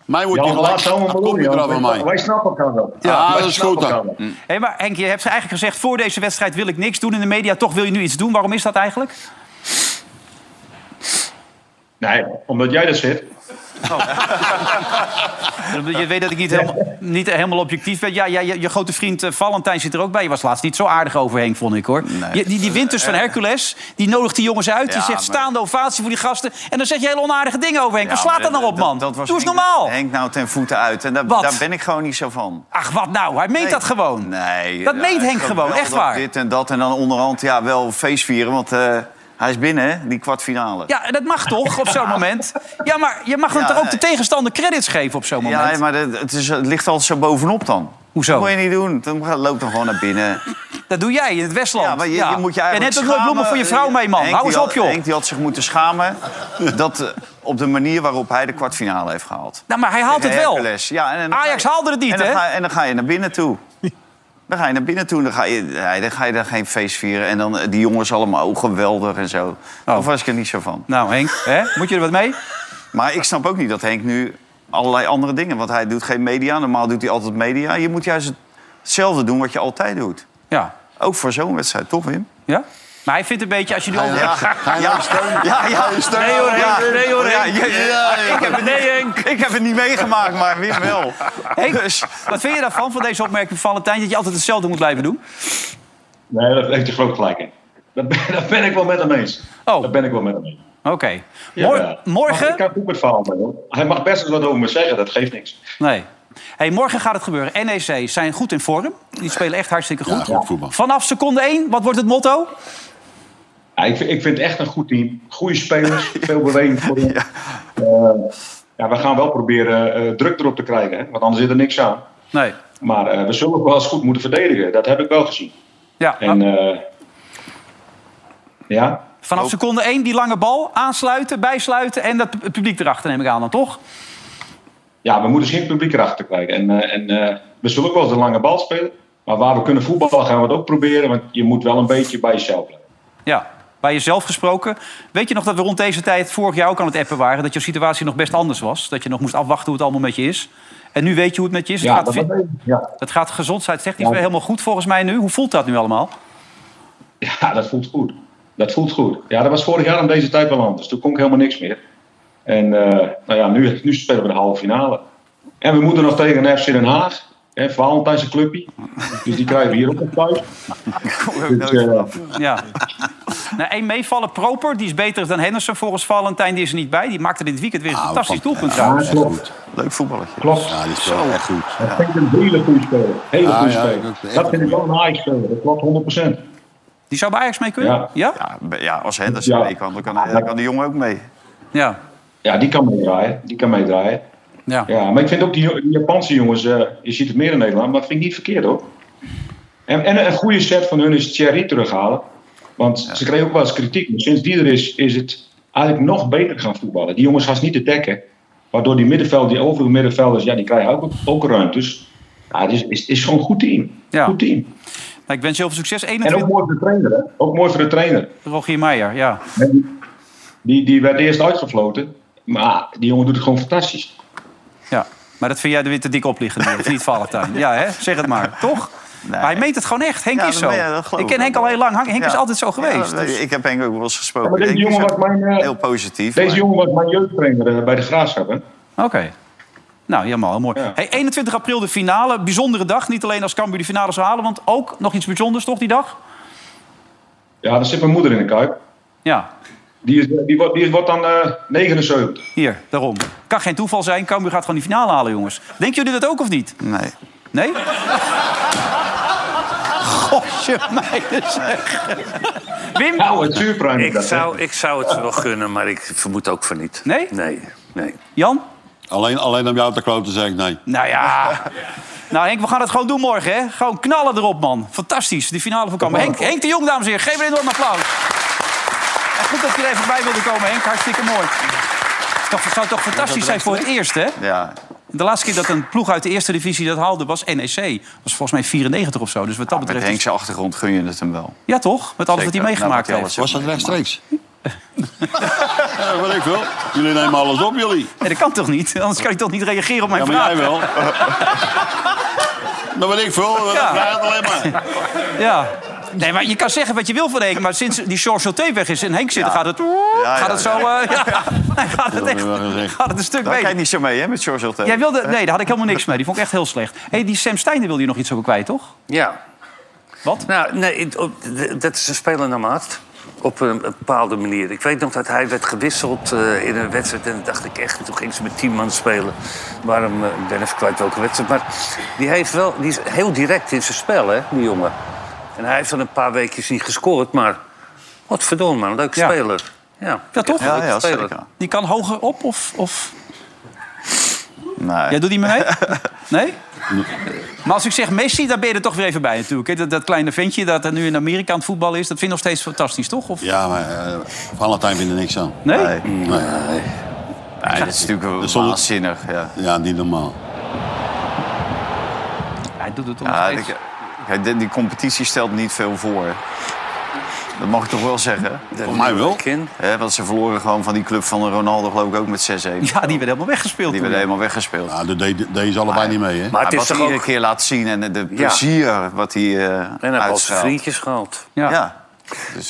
S4: Mij wordt
S2: Jan,
S4: hij gelijk
S2: laat zo maar
S4: een
S2: doen,
S4: kopje
S2: Jan.
S4: eraf aan mij.
S21: Wij snappen elkaar wel.
S4: Ja,
S2: wij
S4: dat is
S2: snappen
S4: goed
S2: elkaar
S4: dan.
S2: wel. Hé, maar Henk, je hebt eigenlijk gezegd... voor deze wedstrijd wil ik niks doen in de media. Toch wil je nu iets doen. Waarom is dat eigenlijk?
S21: Nee, omdat jij dat zit.
S2: Je weet dat ik niet helemaal, niet helemaal objectief ben. Ja, ja, je, je grote vriend eh, Valentijn zit er ook bij. Je was laatst niet zo aardig over Henk, vond ik, hoor. Je- die, die wint dus van Hercules. Die nodigt die jongens uit. die
S8: Eh, Ja,
S2: zegt
S8: maar-
S2: staande ovatie voor die gasten. En dan zeg je hele onaardige dingen over Henk. Waar slaat dat
S8: maar
S2: nou op, man?
S8: Dat, dat was
S2: Doe eens
S8: Henk-
S2: normaal.
S8: Henk nou ten voeten uit. En daar,
S2: Wat?
S8: daar ben ik gewoon niet zo van.
S2: Ach, wat nou? Hij meent
S8: Nee.
S2: dat gewoon.
S8: Nee.
S2: Dat
S8: ja,
S2: meent
S8: ik
S2: Henk
S8: kan
S2: gewoon,
S8: wel
S2: echt
S8: dat
S2: waar.
S8: Dit en dat. En dan onderhand ja, wel feest vieren. Want eh, hij is binnen, hè, die kwartfinale.
S2: Ja, en dat mag toch op zo'n moment? Ja, maar je mag dan
S8: Ja,
S2: toch ook de
S8: nee.
S2: tegenstander credits geven op zo'n moment?
S8: Ja, maar dat- het, is, het ligt altijd zo bovenop dan.
S2: Hoezo?
S8: Dat moet je niet doen. Dan loopt dan gewoon naar binnen.
S2: Dat doe jij in het Westland.
S8: Ja, maar je,
S2: Ja.
S8: je moet je eigenlijk
S2: En net ook nooit bloemen voor je vrouw mee, man.
S8: Henk
S2: Hou
S8: die
S2: eens
S8: had-
S2: op, joh.
S8: Henk die had zich moeten schamen dat, eh, op de manier waarop hij de kwartfinale heeft gehaald.
S2: Nou, maar hij haalt het
S8: Tegen
S2: wel.
S8: Hercules. Ja, en, en dan
S2: Ajax
S8: ga je-
S2: haalde het niet,
S8: en dan
S2: hè?
S8: Ga, en dan ga je naar binnen toe. Dan ga je naar binnen toe en dan ga je, ja, dan ga je daar geen feest vieren. En dan eh, die jongens allemaal, oh, geweldig en zo. Of was ik er niet zo van.
S2: Nou, Henk, hè? moet je er wat mee?
S8: Maar ik snap ook niet dat Henk nu allerlei andere dingen... want hij doet geen media, normaal doet hij altijd media. Je moet juist hetzelfde doen wat je altijd doet.
S2: Ja.
S8: Ook voor zo'n wedstrijd, toch, Wim?
S2: Ja? Maar hij vindt een beetje, als je nu
S8: Ga je
S2: over...
S8: nou- ga je nou steunen? Ja, ja. Ga je steunen?
S2: Nee hoor,
S8: Ja.
S2: Henk. Nee hoor,
S8: Ja,
S2: Henk.
S8: ja, ja, ja.
S2: Ik heb het nee, Henk.
S8: Ik heb het niet meegemaakt, maar Wim wel.
S2: Henk, wat vind je daarvan, van deze opmerking van Valentijn... dat je altijd hetzelfde moet blijven doen?
S21: Nee, dat heeft je groot gelijk in. Dat ben, dat ben ik wel met hem eens.
S2: Oh.
S21: Dat ben ik wel met hem eens.
S2: Oké. Mor- morgen...
S21: Ik kan goed met verhaal mee, hoor. Hij mag best eens wat over me zeggen, dat geeft niks.
S2: Nee. Hey, morgen gaat het gebeuren. NEC zijn goed in vorm. Die spelen echt hartstikke goed.
S21: goed voetbal.
S2: Vanaf seconde 1, wat wordt het motto?
S21: Ja, ik, vind- ik vind het echt een goed team. Goede spelers, veel beweging voor hem. Eh, ja, we gaan wel proberen eh, druk erop te krijgen, hè, want anders zit er niks aan.
S2: Nee.
S21: Maar eh, we zullen ook wel eens goed moeten verdedigen. Dat heb ik wel gezien.
S10: E
S2: Ja,
S21: En, eh, ja?
S2: Vanaf
S21: Ook.
S2: seconde 1 die lange bal aansluiten, bijsluiten... en dat pu- publiek erachter neem ik aan dan, toch?
S21: ja, we moeten dus geen publiek erachter krijgen. En, eh, en eh, we zullen ook wel eens de lange bal spelen. Maar waar we kunnen voetballen gaan we het ook proberen. Want je moet wel een beetje bij jezelf blijven.
S2: Ja, bij jezelf gesproken. Weet je nog dat we rond deze tijd vorig jaar ook aan het appen waren... dat je situatie nog best anders was? Dat je nog moest afwachten hoe het allemaal met je is? En nu weet je hoe het met je is?
S21: Ja,
S2: het, gaat,
S21: dat weet ik, ja.
S2: het gaat gezondheidstechnisch
S21: Ja.
S2: weer helemaal goed volgens mij nu. Hoe voelt dat nu allemaal?
S21: Ja, dat voelt goed. Dat voelt goed. Ja, dat was vorig jaar aan deze tijd wel anders. Toen kon ik helemaal niks meer. En eh, nou ja, nu, nu spelen we de halve finale. En we moeten nog tegen FC Den Haag. Hè, Valentijnse clubje. Dus die krijgen we hier ook op thuis. Dus, eh,
S2: Ja. Nou, één meevallen, Proper, die is beter dan Henderson volgens Valentijn. Die is er niet bij. Die maakte dit weekend weer een
S8: Nou,
S2: fantastisch doelpunt trouwens.
S21: ja, klopt.
S8: Leuk voetballetje.
S21: Klopt.
S4: Ja, die is wel echt goed.
S21: Dat vind ik een hele goede speler. Hele
S4: Ja,
S21: goede
S4: ja,
S21: speler.
S4: ik ook. Echt
S21: dat vind ik wel een Ajax speler. Dat klopt 100%.
S2: Die zou bij Ajax mee kunnen? Ja. Ja?
S8: Ja, als Henderson
S21: Ja.
S8: mee kan, dan kan, dan kan de jongen ook mee.
S2: Ja.
S21: Ja, die kan meedraaien. Die kan meedraaien.
S2: Ja.
S21: ja, maar ik vind ook die, die Japanse jongens, eh, je ziet het meer in Nederland, maar dat vind ik niet verkeerd hoor. En, en een goede set van hun is Thierry terughalen. Want ze kregen ook wel eens kritiek. Maar sinds die er is, is het eigenlijk nog beter gaan voetballen. Die jongens gaan ze niet te dekken. Waardoor die middenveld, die overige middenvelders, ja, die krijgen ook, ook ruimtes. Ja, het is, is, is gewoon een goed team.
S2: Ja.
S21: Goed team.
S2: Nou, ik wens je heel veel succes.
S21: En ook
S2: 21...
S21: mooi voor de trainer, hè? Ook mooi voor de trainer.
S2: Rogier Meijer, ja.
S21: Die, die werd eerst uitgefloten. Maar die jongen doet het gewoon fantastisch.
S2: ja. Maar dat vind jij er weer te dik op liggen. nu, Of niet Valentijn? Ja, hè? zeg het maar. Toch? Maar hij meet het gewoon echt. Henk
S8: Ja,
S2: is
S8: dat
S2: zo.
S8: ben je, dat geloof
S2: ik ken
S8: ik
S2: Henk
S8: ook
S2: al heel
S8: wel.
S2: lang. Henk is
S8: Ja.
S2: altijd zo
S8: Ja,
S2: geweest.
S8: dat-
S2: dus-
S8: Ik heb Henk ook wel eens gesproken.
S21: Ja, maar deze
S8: Henk is
S21: jongen
S8: ook
S21: was mijn, eh,
S8: heel positief.
S21: Deze
S8: maar-
S21: jongen was mijn jeugdtrainer eh, bij de Graafschap. hè.
S2: Oké. Nou, helemaal heel mooi. Hey, 21 april de finale. Bijzondere dag. Niet alleen als Cambuur de finale zou halen, want ook nog iets bijzonders, toch, die dag?
S21: Ja, daar zit mijn moeder in de kuip.
S2: Ja.
S21: Die, is, eh, die, wordt- die wordt dan eh 79.
S2: Hier, daarom. Kan geen toeval zijn. Cambuur gaat gewoon die finale halen, jongens. Denken jullie dat ook of niet?
S8: Nee.
S2: Nee? Gosje meiden zeg. Wim?
S21: Nou, het zuurpruim.
S5: Ik zou, ik zou het ze wel gunnen, maar ik vermoed ook van niet.
S2: Nee?
S5: Nee. nee.
S2: Jan?
S4: Alleen, alleen om jou te kloten zeg ik nee.
S2: Nou ja. Nou Henk, we gaan het gewoon doen morgen, hè? Gewoon knallen erop, man. Fantastisch, die finale van Kampen. Henk, Henk de Jong, dames en heren, geef een enorm applaus. En goed dat je er even bij wilde komen, Henk. Hartstikke mooi. Het toch- zou toch fantastisch zijn voor het eerst, hè?
S8: Ja.
S2: De laatste keer dat een ploeg uit de eerste divisie dat haalde was NEC. Dat was volgens mij 94 of zo. Dus wat dat
S8: Met
S2: betreft... is-
S8: Henk's achtergrond gun je het hem wel.
S2: Ja, toch? Met alles wat hij
S8: Zeker. Nou,
S2: meegemaakt
S8: wat hij
S2: heeft.
S8: alles heeft Was dat
S4: rechtstreeks? Ja, weet ik veel. Jullie nemen alles op, jullie.
S2: Nee, dat kan toch niet? Anders kan ik toch niet reageren op mijn
S4: Ja, maar jij
S2: vraag?
S4: wel. Dat ben ik veel.
S2: Ja.
S4: Ja. alleen maar.
S2: Ja. Nee, maar je kan zeggen wat je wil van Henk, maar sinds die George Sauté weg is en Henk zit, gaat het, gaat het zo... eh, Ja. gaat het echt gaat het een
S8: Daar
S2: stuk beter.
S8: kijk je niet zo mee, hè, met George Hilton.
S2: Jij wilde, nee, daar had ik helemaal niks mee. Die vond ik echt heel slecht. hey, die Sam Steijn, daar wilde je nog iets over kwijt, toch?
S5: Ja.
S2: Wat?
S5: Nou, nee, het- op- d- dat is een speler naar maat. Op een een bepaalde manier. Ik weet nog dat hij werd gewisseld eh, in een wedstrijd. En dat dacht ik echt, toen ging ze met tien man spelen. Waarom, eh, ik ben even kwijt welke wedstrijd. Maar die, heeft wel, die is heel direct in zijn spel, hè, die jongen. En hij heeft dan een paar weekjes niet gescoord. Maar wat verdomme, man, leuke speler. Ja,
S2: Ja, toch?
S5: Leuke speler.
S2: Die kan hoger op of... of...
S8: Nee.
S2: Jij doet niet meer mee? Nee? Maar als ik zeg Messi, dan ben je er toch weer even bij natuurlijk. hè. Dat, dat kleine ventje dat er nu in Amerika aan het voetballen is... dat vind je nog steeds fantastisch, toch? Of...
S4: Ja, maar eh, Valentijn vindt er niks aan.
S2: Nee?
S4: Nee. eh,
S8: Nee, dat is natuurlijk waanzinnig. Ja.
S4: ja, niet normaal.
S2: Hij doet het
S8: ja, ik- kijk, die, die competitie stelt niet veel voor. hè. Dat mag ik toch wel zeggen?
S4: Voor mij wel.
S8: Hè, want ze verloren gewoon van die club van Ronaldo, geloof ik, ook met 6-1. Ja, die
S2: werd helemaal weggespeeld.
S8: Die werd helemaal weggespeeld.
S4: Ja, deze allebei niet mee, hè?
S8: Maar het is
S4: toch
S8: wat hij iedere keer laat zien en de plezier wat hij eh
S5: En hij heeft
S8: uitstraalt.
S5: vriendjes gehad.
S2: Ja.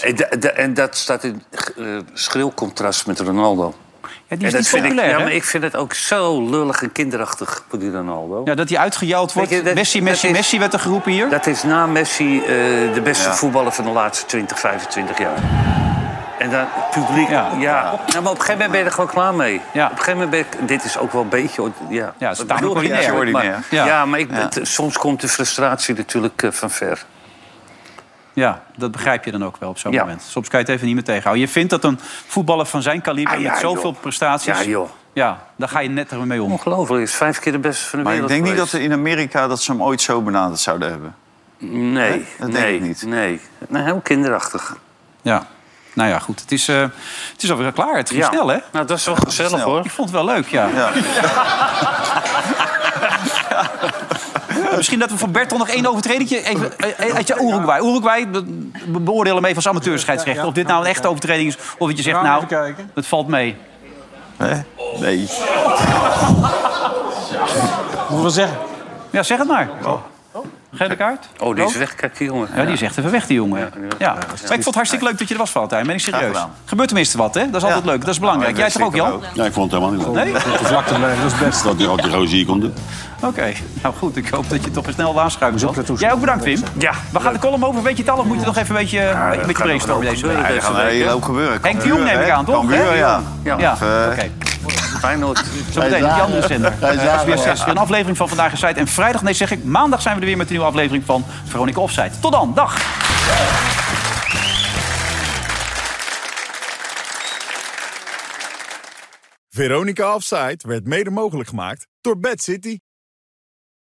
S5: En, da- da- en dat staat in eh, schril contrast met Ronaldo.
S2: Ja,
S5: en
S2: die is
S5: dat
S2: niet
S5: vind
S2: populair,
S5: ik, ja,
S2: hè?
S5: maar ik vind het ook zo lullig en kinderachtig voor die Ronaldo.
S2: Ja, dat hij uitgejaald wordt.
S5: Weet je, dat-
S2: Messi,
S5: dat
S2: Messi,
S5: is-
S2: Messi werd er geroepen hier.
S5: Dat is na Messi eh, de beste
S2: Ja.
S5: voetballer van de laatste 20, 25 jaar. En dan het publiek, ja. Nou, maar op een gegeven moment ben je er gewoon klaar mee. Op een gegeven moment ben ik, dit is ook wel een beetje... Ja,
S2: ja
S5: Wat
S2: het is
S5: bedoel je?
S2: ordinair.
S5: maar,
S2: Maar-
S5: ja.
S2: ja.
S5: maar ik, het- soms komt de frustratie natuurlijk eh, van ver.
S2: Ja, dat begrijp je dan ook wel op zo'n
S5: Ja.
S2: moment. Soms kan je het even niet meer tegenhouden. Je vindt dat een voetballer van zijn kaliber
S5: Ah, ja,
S2: met zoveel
S5: joh.
S2: prestaties...
S5: Ja, joh.
S2: Ja, daar ga je net er mee om.
S5: Ongelooflijk, is vijf keer de beste van de
S8: Maar ik
S5: wereld
S8: denk niet dat
S5: geweest.
S8: ze in Amerika dat ze hem ooit zo benaderd zouden hebben.
S5: Nee,
S8: dat
S5: nee,
S8: denk ik niet.
S5: Nee. nee, heel kinderachtig.
S2: Ja. Nou ja, goed. Het is, eh het is alweer klaar. Het ging
S5: Ja.
S2: snel, hè?
S5: Nou, dat is wel gezellig, hoor.
S2: Ik vond het wel leuk, ja. Misschien dat we voor Bertel nog één overtreding even eh, uit je Uruguay. Uruguay, be- be- beoordeel hem even als amateurscheidsrechter. Of dit nou een echte overtreding is, of dat je zegt,
S10: Gaan we
S2: nou,
S10: even kijken.
S2: het valt mee.
S8: Nee.
S2: Hoeveel zeggen? Ja, zeg het maar. Gele kaart?
S5: Oh, die is weg, kijk die jongen.
S2: Ja, die is echt even weg, die jongen. Ja, Maar ik vond het hartstikke leuk dat je er was, Valentijn. Ben ik serieus. Gebeurt tenminste wat, hè? Dat is altijd leuk. Dat is belangrijk. Jij toch ook, Jan?
S4: Ja, ik vond het helemaal niet leuk.
S2: Nee? Op de vlakte
S4: blijven, dat is best. Dat die, ook die roze hier komt doen.
S2: Oké, nou goed. Ik hoop dat je toch een snel waarschuwing zat. Jij ook bedankt, Wim. Ja. We gaan de column over. Weet je het al of moet je nog even een beetje, eh, een beetje brainstormen deze week?
S8: Ja, er gaat een hele hoop gebeuren.
S2: Henk de Jong neem ik aan, toch?
S8: Cambuur,
S2: Hè?
S8: ja.
S2: Ja,
S8: Of, eh,
S2: oké.
S5: Feyenoord.
S2: Zometeen op die andere zender.
S8: Hij is
S2: Eh, SBS
S8: daar,
S2: 6.
S8: ja.
S2: Een aflevering van Vandaag is Site. En vrijdag, nee zeg ik, maandag zijn we er weer met een nieuwe aflevering van Veronica Offside. Tot dan, dag!
S1: Veronica Offside werd mede mogelijk gemaakt door Bad City.